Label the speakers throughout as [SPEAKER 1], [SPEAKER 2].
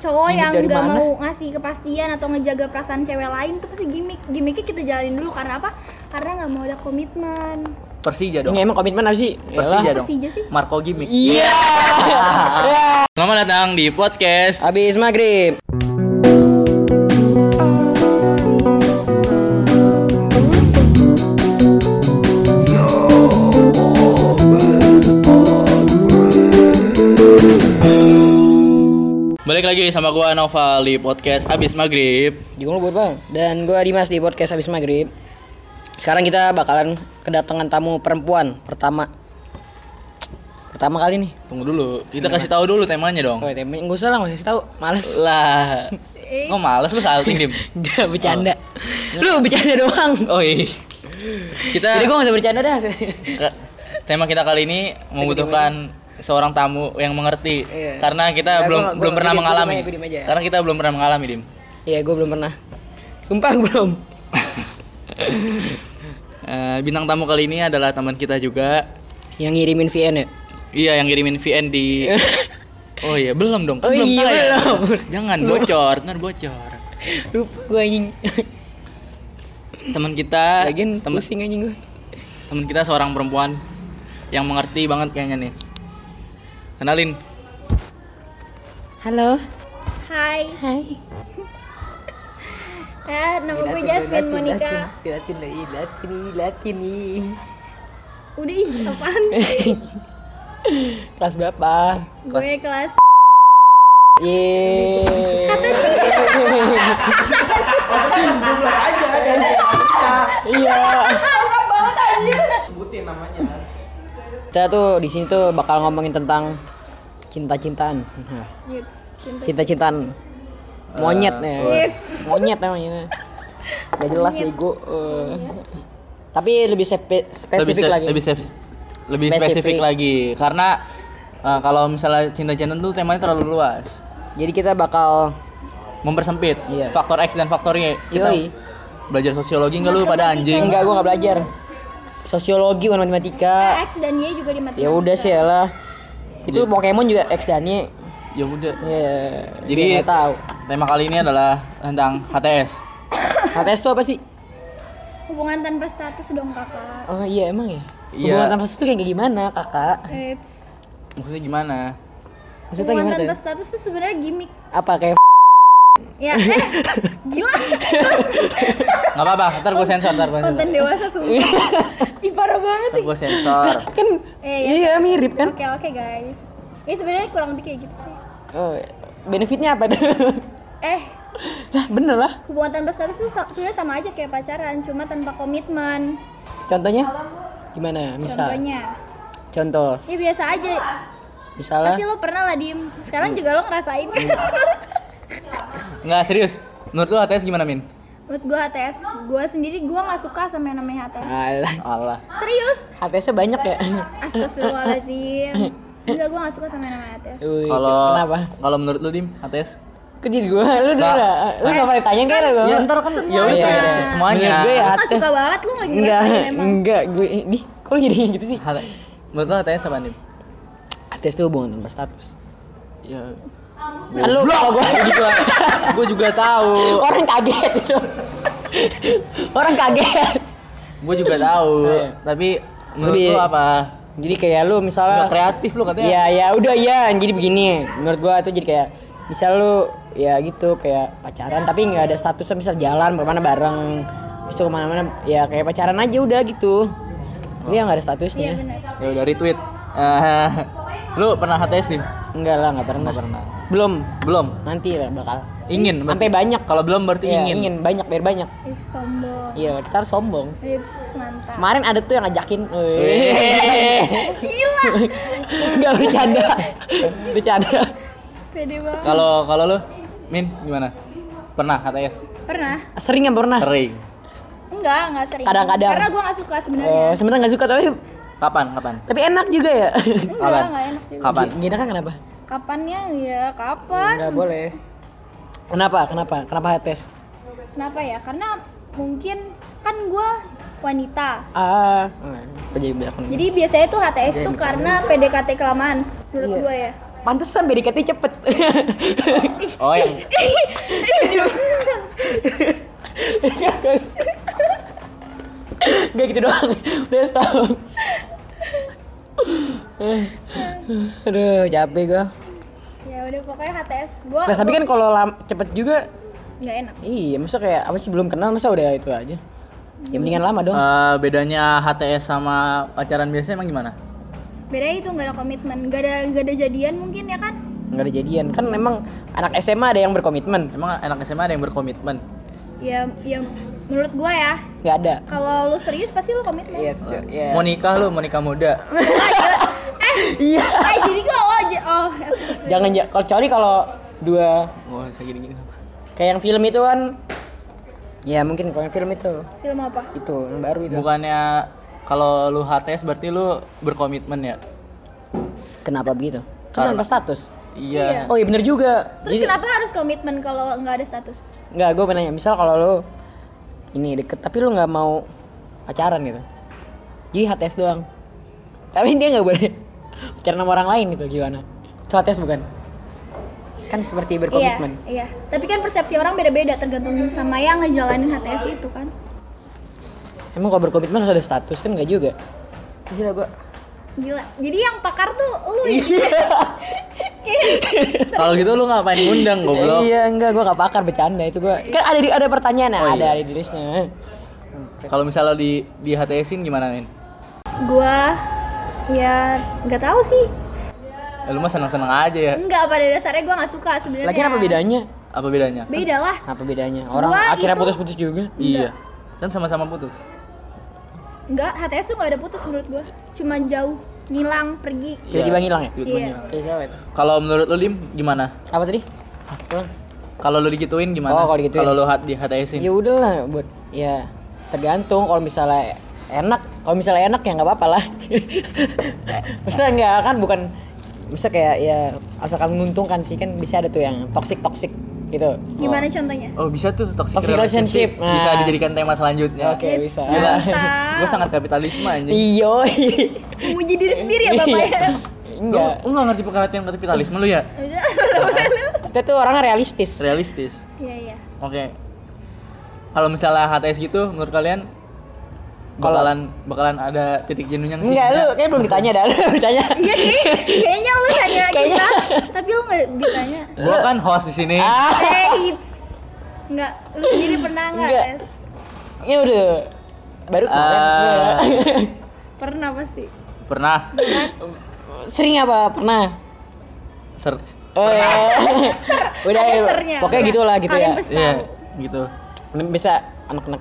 [SPEAKER 1] cowok
[SPEAKER 2] Gimik
[SPEAKER 1] yang
[SPEAKER 2] dari
[SPEAKER 1] nggak
[SPEAKER 2] mana?
[SPEAKER 1] mau ngasih kepastian atau ngejaga perasaan cewek lain tuh pasti gimmick gimmicknya kita jalanin dulu karena apa karena nggak mau ada komitmen
[SPEAKER 3] Persija dong.
[SPEAKER 2] Ini emang komitmen apa sih?
[SPEAKER 3] Persija
[SPEAKER 2] Yalah.
[SPEAKER 3] dong.
[SPEAKER 1] Persija sih
[SPEAKER 3] Marco Gimmick.
[SPEAKER 2] Iya.
[SPEAKER 4] Selamat datang di podcast
[SPEAKER 2] Habis maghrib.
[SPEAKER 4] Balik lagi sama gua Noval di podcast Abis Maghrib
[SPEAKER 2] Juga lu buat bang. Dan gue Dimas di podcast habis maghrib. Sekarang kita bakalan kedatangan tamu perempuan pertama. Pertama kali nih.
[SPEAKER 4] Tunggu dulu, kita kasih tahu dulu temanya dong
[SPEAKER 2] Oh, tem- nggak usah lah, nggak usah tahu. Males.
[SPEAKER 4] Lah,
[SPEAKER 1] Eh.
[SPEAKER 4] kok males lu salting Dim?
[SPEAKER 2] Gak bercanda. Lu bercanda doang.
[SPEAKER 4] Oh iya
[SPEAKER 2] Jadi
[SPEAKER 4] Kita,
[SPEAKER 2] gue nggak usah bercanda dah.
[SPEAKER 4] ke- tema kita kali ini membutuhkan seorang tamu yang mengerti
[SPEAKER 2] Iya.
[SPEAKER 4] Karena
[SPEAKER 2] Ya,
[SPEAKER 4] kita
[SPEAKER 2] gua
[SPEAKER 4] belum
[SPEAKER 2] nggak- gua
[SPEAKER 4] belum
[SPEAKER 2] nggak- gua
[SPEAKER 4] pernah
[SPEAKER 2] diem aja,
[SPEAKER 4] mengalami
[SPEAKER 2] gua diem aja.
[SPEAKER 4] Karena kita belum pernah mengalami Dim
[SPEAKER 2] Iya, gue belum pernah. Sumpah gua belum.
[SPEAKER 4] Eh, Bintang tamu kali ini adalah teman kita juga
[SPEAKER 2] Yang ngirimin VN ya?
[SPEAKER 4] Iya yang kirimin VN di Oh iya belum dong kan
[SPEAKER 2] Oh
[SPEAKER 4] belum
[SPEAKER 2] iya,
[SPEAKER 4] tayang.
[SPEAKER 2] belum.
[SPEAKER 4] Jangan bocor ntar bocor
[SPEAKER 2] Lupa gue anjing.
[SPEAKER 4] Teman kita
[SPEAKER 2] Lagian
[SPEAKER 4] teman
[SPEAKER 2] pusing anjing gue.
[SPEAKER 4] teman kita seorang perempuan yang mengerti banget kayaknya nih Kenalin
[SPEAKER 2] Halo.
[SPEAKER 1] hai
[SPEAKER 2] Hai.
[SPEAKER 1] ya nama gue Jasmine Monica
[SPEAKER 2] Latin, Latin, Latin, Latin, Eh,
[SPEAKER 1] udah ih apaan
[SPEAKER 2] Kelas berapa?
[SPEAKER 1] gue kelas
[SPEAKER 2] Yeay. Iya.
[SPEAKER 1] "Ah,
[SPEAKER 2] Kita tuh di sini tuh bakal ngomongin tentang cinta-cintaan.
[SPEAKER 1] Yes, cinta.
[SPEAKER 2] Cinta-cintaan
[SPEAKER 4] Ah,
[SPEAKER 2] monyet ya.
[SPEAKER 1] Yes.
[SPEAKER 2] Monyet namanya. Gak jelas bego. Eh, Tapi lebih sepe-
[SPEAKER 4] lebih
[SPEAKER 2] spesifik
[SPEAKER 4] se-
[SPEAKER 2] lagi.
[SPEAKER 4] lebih se- lebih
[SPEAKER 2] Spesifik.
[SPEAKER 4] spesifik, lagi karena eh, kalau misalnya cinta-cintaan tuh temanya terlalu luas
[SPEAKER 2] Jadi kita bakal
[SPEAKER 4] mempersempit
[SPEAKER 2] Iya.
[SPEAKER 4] faktor X dan faktor Y kita
[SPEAKER 2] Yoi.
[SPEAKER 4] belajar sosiologi nggak lu pada anjing
[SPEAKER 2] Enggak, gua nggak belajar. Sosiologi bukan matematika.
[SPEAKER 1] X dan Y juga di matematika
[SPEAKER 2] Ah. Ya udah sih lah. Itu Pokemon juga X dan Y.
[SPEAKER 4] ya udah
[SPEAKER 2] Ya, dia
[SPEAKER 4] Jadi-
[SPEAKER 2] nggak tahu.
[SPEAKER 4] tema kali ini adalah tentang HTS
[SPEAKER 2] HTS itu apa sih?
[SPEAKER 1] hubungan tanpa status dong kakak
[SPEAKER 2] Oh iya emang ya.
[SPEAKER 4] Iya.
[SPEAKER 2] Hubungan tanpa status itu kayak gimana kakak?
[SPEAKER 1] Eh,
[SPEAKER 4] maksudnya gimana
[SPEAKER 2] Maksudnya
[SPEAKER 1] hubungan
[SPEAKER 2] gimana
[SPEAKER 1] tanpa
[SPEAKER 2] tuh?
[SPEAKER 1] status tuh sebenarnya gimmick
[SPEAKER 2] Apa kayak
[SPEAKER 1] ya eh gila
[SPEAKER 4] nggak apa-apa ntar gue sensor ntar gue sensor
[SPEAKER 1] konten dewasa
[SPEAKER 4] Iya.
[SPEAKER 1] sumpah Ih, parah banget
[SPEAKER 4] ntar
[SPEAKER 1] ih.
[SPEAKER 4] gue sensor
[SPEAKER 2] kan?
[SPEAKER 1] eh ya
[SPEAKER 2] Iya mirip kan?
[SPEAKER 1] Oke oke guys. Ya sebenarnya kurang lebih kayak gitu sih.
[SPEAKER 2] Oh, benefitnya apa?
[SPEAKER 1] Eh,
[SPEAKER 2] lah bener lah.
[SPEAKER 1] hubungan tanpa status tuh sa- sebenarnya sama aja kayak pacaran, cuma tanpa komitmen.
[SPEAKER 2] Contohnya gimana? Misal,
[SPEAKER 1] Contohnya,
[SPEAKER 2] contoh,
[SPEAKER 1] ya biasa aja. Pasti
[SPEAKER 2] misalnya
[SPEAKER 1] lo pernah lah dim.
[SPEAKER 4] Hmm.
[SPEAKER 1] Sekarang juga lo ngerasain.
[SPEAKER 4] nggak serius menurut lu HTS gimana min
[SPEAKER 1] Menurut gue HTS, gue sendiri gue nggak suka sama yang namanya HTS.
[SPEAKER 4] Ah.
[SPEAKER 2] Alah,
[SPEAKER 4] Allah
[SPEAKER 1] Serius?
[SPEAKER 2] HTS-nya banyak ya.
[SPEAKER 1] Astagfirullahaladzim. Enggak, gue gak suka sama yang namanya HTS.
[SPEAKER 4] Ya,
[SPEAKER 2] Wih,
[SPEAKER 4] kalau
[SPEAKER 2] kenapa?
[SPEAKER 4] kalau menurut lu dim HTS
[SPEAKER 2] Kok jadi gua? Lu dulu
[SPEAKER 4] Pak.
[SPEAKER 2] dah. Lu enggak boleh tanya kan lu?
[SPEAKER 4] Ya, ntar kan
[SPEAKER 1] Semuanya.
[SPEAKER 4] ya udah,
[SPEAKER 1] Iya.
[SPEAKER 4] se- semuanya.
[SPEAKER 2] Menurut
[SPEAKER 1] Lo
[SPEAKER 2] gue ya.
[SPEAKER 1] gak
[SPEAKER 2] HTS.
[SPEAKER 1] suka banget, lo lagi
[SPEAKER 2] Enggak,
[SPEAKER 1] ngerasain emang.
[SPEAKER 2] enggak gue di kok lu jadi gitu sih?
[SPEAKER 4] Hal- Menurut lo HTS apa nih?
[SPEAKER 2] HTS tuh hubungan tanpa status.
[SPEAKER 4] Ya.
[SPEAKER 2] Kan lu kalau gua
[SPEAKER 4] Gue juga, gue juga tahu.
[SPEAKER 2] orang kaget itu. orang kaget.
[SPEAKER 4] Gue juga tahu.
[SPEAKER 2] Iya.
[SPEAKER 4] Tapi menurut
[SPEAKER 2] Lebih-
[SPEAKER 4] lu apa?
[SPEAKER 2] Jadi kayak lu
[SPEAKER 4] Gak
[SPEAKER 2] misalnya
[SPEAKER 4] kreatif lu katanya.
[SPEAKER 2] Iya, ya udah ya. Jadi begini, menurut gua tuh jadi kayak misal lu ya gitu kayak pacaran tapi nggak ada statusnya misal jalan kemana bareng Habis itu kemana-mana ya kayak pacaran aja udah gitu tapi ya nggak ada
[SPEAKER 1] Iya
[SPEAKER 2] statusnya
[SPEAKER 1] benar.
[SPEAKER 4] Ya udah retweet. Eh, lu pernah HTS dim?
[SPEAKER 2] enggak lah nggak pernah
[SPEAKER 4] Nggak pernah.
[SPEAKER 2] belum
[SPEAKER 4] Belum.
[SPEAKER 2] nanti lah bakal
[SPEAKER 4] Ingin. berarti.
[SPEAKER 2] sampai banyak
[SPEAKER 4] Kalau belum berarti
[SPEAKER 2] Iya,
[SPEAKER 4] ingin.
[SPEAKER 2] banyak biar banyak
[SPEAKER 1] Ih, sombong.
[SPEAKER 2] Iya, kita harus sombong.
[SPEAKER 1] Ih, mantap.
[SPEAKER 2] Kemarin ada tuh yang ngajakin.
[SPEAKER 4] Wih.
[SPEAKER 1] Gila,
[SPEAKER 2] Enggak bercanda. bercanda.
[SPEAKER 1] pede banget.
[SPEAKER 4] Kalau kalau lu, Min gimana? Pernah HTS?
[SPEAKER 1] Pernah?
[SPEAKER 2] Sering nggak pernah?
[SPEAKER 4] Sering.
[SPEAKER 1] Enggak, enggak sering.
[SPEAKER 2] Kadang-kadang.
[SPEAKER 1] Karena gue gak suka sebenarnya.
[SPEAKER 2] Eh, sebenarnya nggak suka tapi
[SPEAKER 4] Kapan? Kapan?
[SPEAKER 2] tapi enak juga ya.
[SPEAKER 1] enggak,
[SPEAKER 4] kapan?
[SPEAKER 1] enggak enak juga.
[SPEAKER 4] Kapan?
[SPEAKER 2] Gini kan kenapa?
[SPEAKER 1] Kapannya ya, kapan?
[SPEAKER 2] Enggak boleh. Kenapa? Kenapa? Kenapa HTS?
[SPEAKER 1] Kenapa ya? Karena mungkin kan gue wanita.
[SPEAKER 2] Ah, eh, kok jadi belakang.
[SPEAKER 1] Jadi biasanya tuh HTS tuh karena PDKT kelamaan menurut
[SPEAKER 2] Iya.
[SPEAKER 1] gue ya.
[SPEAKER 2] pantesan BDKT cepet
[SPEAKER 4] Oh yang
[SPEAKER 2] Gak gitu doang Udah setahun Aduh capek gua
[SPEAKER 1] ya udah pokoknya HTS gua
[SPEAKER 2] Nah tapi
[SPEAKER 1] gua-
[SPEAKER 2] kan kalau lam- cepet juga
[SPEAKER 1] nggak enak
[SPEAKER 2] Iya masa kayak apa sih belum kenal masa udah itu aja Ya mendingan lama dong
[SPEAKER 4] eh, bedanya HTS sama pacaran biasa emang gimana?
[SPEAKER 1] bedanya itu nggak ada komitmen nggak ada nggak ada jadian mungkin ya kan
[SPEAKER 2] nggak ada jadian kan memang anak SMA ada yang berkomitmen
[SPEAKER 4] Emang anak SMA ada yang berkomitmen?
[SPEAKER 1] ya ya menurut gua ya
[SPEAKER 2] nggak ada
[SPEAKER 1] kalau lu serius pasti lu komitmen
[SPEAKER 2] iya cu- iya
[SPEAKER 4] Mau nikah lu, mau nikah muda.
[SPEAKER 2] iya
[SPEAKER 1] eh jadi gua oh, j- oh ya.
[SPEAKER 2] jangan ja- kalau kecuali kalau dua
[SPEAKER 4] Wah, saya gini-gini.
[SPEAKER 2] kayak yang film itu kan ya mungkin kalau yang film itu
[SPEAKER 1] film apa
[SPEAKER 2] itu yang baru itu
[SPEAKER 4] Bukannya kalau lu HTS berarti lu berkomitmen ya?
[SPEAKER 2] kenapa begitu kan tanpa
[SPEAKER 4] Karena-
[SPEAKER 2] status
[SPEAKER 4] Iya.
[SPEAKER 2] oh iya bener juga
[SPEAKER 1] terus kenapa harus komitmen kalau nggak ada status
[SPEAKER 2] nggak gue penanya misal kalau lu ini deket tapi lu nggak mau pacaran gitu jadi HTS doang tapi dia nggak boleh pacaran sama orang lain gitu gimana itu HTS bukan kan seperti berkomitmen
[SPEAKER 1] iya iya tapi kan persepsi orang beda-beda tergantung sama yang ngejalanin HTS itu kan
[SPEAKER 2] emang kalau berkomitmen harus ada status kan nggak juga Gila gue
[SPEAKER 1] gila jadi yang pakar tuh lu ya?
[SPEAKER 2] Iya.
[SPEAKER 4] Kalau gitu lu ngapain ngundang goblok?
[SPEAKER 2] Iya enggak gue gak pakar bercanda itu gue kan ada di ada pertanyaan nah,
[SPEAKER 4] Oh,
[SPEAKER 2] ada
[SPEAKER 4] iya.
[SPEAKER 2] di listnya
[SPEAKER 4] Kalau misalnya di di HTS-in gimana, Nin?
[SPEAKER 1] gua ya nggak tahu sih
[SPEAKER 4] Eh, Lu mah seneng-seneng aja ya.
[SPEAKER 1] nggak pada dasarnya gua nggak suka sebenarnya
[SPEAKER 2] Lagian apa bedanya?
[SPEAKER 4] Apa bedanya?
[SPEAKER 1] beda lah
[SPEAKER 2] Apa bedanya? Orang
[SPEAKER 1] kan? Gua
[SPEAKER 2] akhirnya
[SPEAKER 1] itu-
[SPEAKER 2] putus-putus juga.
[SPEAKER 4] Iya. Kan sama-sama putus.
[SPEAKER 1] nggak HTS tuh nggak ada putus menurut gua cuma jauh ngilang pergi
[SPEAKER 2] Tiba-tiba
[SPEAKER 4] Iya.
[SPEAKER 2] ngilang ya?
[SPEAKER 4] Tiba-tiba
[SPEAKER 1] Iya.
[SPEAKER 4] ngilang.
[SPEAKER 2] Iya, siapa itu?
[SPEAKER 4] Kalau menurut lu Lim gimana?
[SPEAKER 2] Apa tadi? Ulang.
[SPEAKER 4] Kalau lu digituin gimana?
[SPEAKER 2] Oh, kalau digituin.
[SPEAKER 4] lu hat- di HTS-in.
[SPEAKER 2] Ya udahlah buat ya tergantung kalau misalnya enak, kalau misalnya enak ya nggak apa-apa lah. Maksudnya enggak kan bukan bisa kayak ya asalkan menguntungkan sih kan bisa ada tuh yang toxic toxic gitu.
[SPEAKER 1] gimana contohnya
[SPEAKER 4] Oh bisa tuh toxic,
[SPEAKER 2] Toxic relationship. Nah.
[SPEAKER 4] Bisa dijadikan tema
[SPEAKER 1] Ya,
[SPEAKER 4] selanjutnya.
[SPEAKER 2] Oke, Iya, bisa.
[SPEAKER 4] Gila,
[SPEAKER 1] Mantap.
[SPEAKER 4] gue sangat kapitalisme anjing.
[SPEAKER 2] Iyo.
[SPEAKER 1] memuji diri sendiri ya bapak ya
[SPEAKER 2] Iya.
[SPEAKER 4] Lu,
[SPEAKER 2] Enggak.
[SPEAKER 4] lu gak ngerti pengertian kapitalisme lu ya?
[SPEAKER 2] Kita tuh orangnya realistis.
[SPEAKER 4] Realistis.
[SPEAKER 1] iya iya
[SPEAKER 4] Oke. Kalau misalnya HTS gitu, menurut kalian
[SPEAKER 2] Kalau-
[SPEAKER 4] bakalan bakalan ada titik jenuhnya nggak sih?
[SPEAKER 2] Enggak, lu kayaknya belum ditanya dah, lu ditanya.
[SPEAKER 1] iya kayaknya, kayaknya lu tanya
[SPEAKER 2] Kayaknya.
[SPEAKER 1] kita tapi lu nggak ditanya
[SPEAKER 4] Gua kan host di sini.
[SPEAKER 2] Ah,
[SPEAKER 1] eh it- nggak lu sendiri pernah nggak
[SPEAKER 2] Nggak.
[SPEAKER 1] tes
[SPEAKER 2] ya udah. Baru kemarin.
[SPEAKER 4] Ah.
[SPEAKER 1] pernah pasti
[SPEAKER 4] Pernah
[SPEAKER 2] Sering apa pernah?
[SPEAKER 4] ser
[SPEAKER 2] Oh, ya. udah
[SPEAKER 1] Ada
[SPEAKER 2] ya,
[SPEAKER 1] sernya.
[SPEAKER 2] pokoknya
[SPEAKER 1] Udah.
[SPEAKER 2] gitulah gitu
[SPEAKER 1] Kalian
[SPEAKER 2] ya.
[SPEAKER 1] pasti-
[SPEAKER 4] iya gitu.
[SPEAKER 2] Bisa anak-anak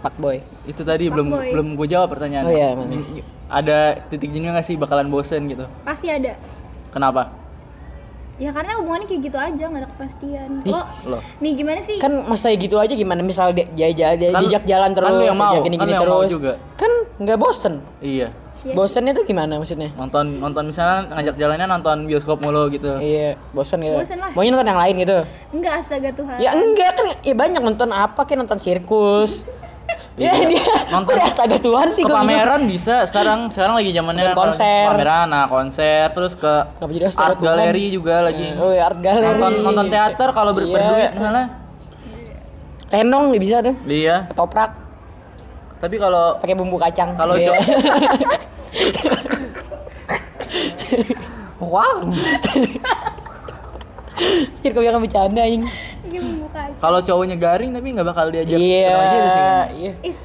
[SPEAKER 2] pak boy.
[SPEAKER 4] Itu tadi belum
[SPEAKER 1] Fuckboy.
[SPEAKER 4] belum gue jawab pertanyaan.
[SPEAKER 2] Oh iya, mana?
[SPEAKER 4] Gim- Ada titik jenuh nggak sih bakalan bosen gitu?
[SPEAKER 1] pasti ada
[SPEAKER 4] Kenapa?
[SPEAKER 1] ya karena hubungannya kayak gitu aja nggak ada kepastian
[SPEAKER 2] Ih,
[SPEAKER 1] lo
[SPEAKER 4] Loh.
[SPEAKER 1] nih gimana sih
[SPEAKER 2] Kan masa gitu aja gimana misal dia, dia, dia- dia-
[SPEAKER 4] Kan-
[SPEAKER 2] diajak jalan
[SPEAKER 4] kan
[SPEAKER 2] terus,
[SPEAKER 4] lu yang mau,
[SPEAKER 2] diajak gini-gini
[SPEAKER 4] kan lu yang mau
[SPEAKER 2] terus.
[SPEAKER 4] juga.
[SPEAKER 2] Kan nggak bosen.
[SPEAKER 4] Iya.
[SPEAKER 1] Iya.
[SPEAKER 2] Bosennya tuh gimana maksudnya?
[SPEAKER 4] Nonton nonton misalnya ngajak jalannya nonton bioskop mulu gitu.
[SPEAKER 2] Iya, bosen gitu.
[SPEAKER 1] Bosen lah. Eh.
[SPEAKER 2] Maunya nonton yang lain gitu.
[SPEAKER 1] enggak astaga Tuhan
[SPEAKER 2] Ya enggak kan ya banyak nonton apa kayak nonton sirkus. ya
[SPEAKER 4] Iya.
[SPEAKER 2] dia
[SPEAKER 4] Nonton-
[SPEAKER 2] nonton astaga Tuhan sih
[SPEAKER 4] ke
[SPEAKER 2] gua bingung.
[SPEAKER 4] pameran bisa sekarang sekarang lagi zamannya
[SPEAKER 2] Dan konser.
[SPEAKER 4] ke pameran nah konser terus ke
[SPEAKER 2] Kenapa jadi astaga
[SPEAKER 4] art
[SPEAKER 2] Tuhan?
[SPEAKER 4] gallery juga lagi
[SPEAKER 2] Oh, iya, art gallery.
[SPEAKER 4] nonton nonton teater kalau ber
[SPEAKER 2] Iya.
[SPEAKER 4] berduit malah
[SPEAKER 2] Renong nih bisa tuh.
[SPEAKER 4] iya
[SPEAKER 2] Ketoprak
[SPEAKER 4] tapi kalau
[SPEAKER 2] pakai bumbu kacang.
[SPEAKER 4] kalau
[SPEAKER 2] Iya.
[SPEAKER 4] cowok wow
[SPEAKER 2] Anjir kau jangan bercanda anjing.
[SPEAKER 1] Ini membuka aja.
[SPEAKER 4] kalau cowoknya garing tapi nggak bakal diajak
[SPEAKER 2] Iya.
[SPEAKER 4] seneng aja sih kan?
[SPEAKER 2] Iya.
[SPEAKER 1] Ih,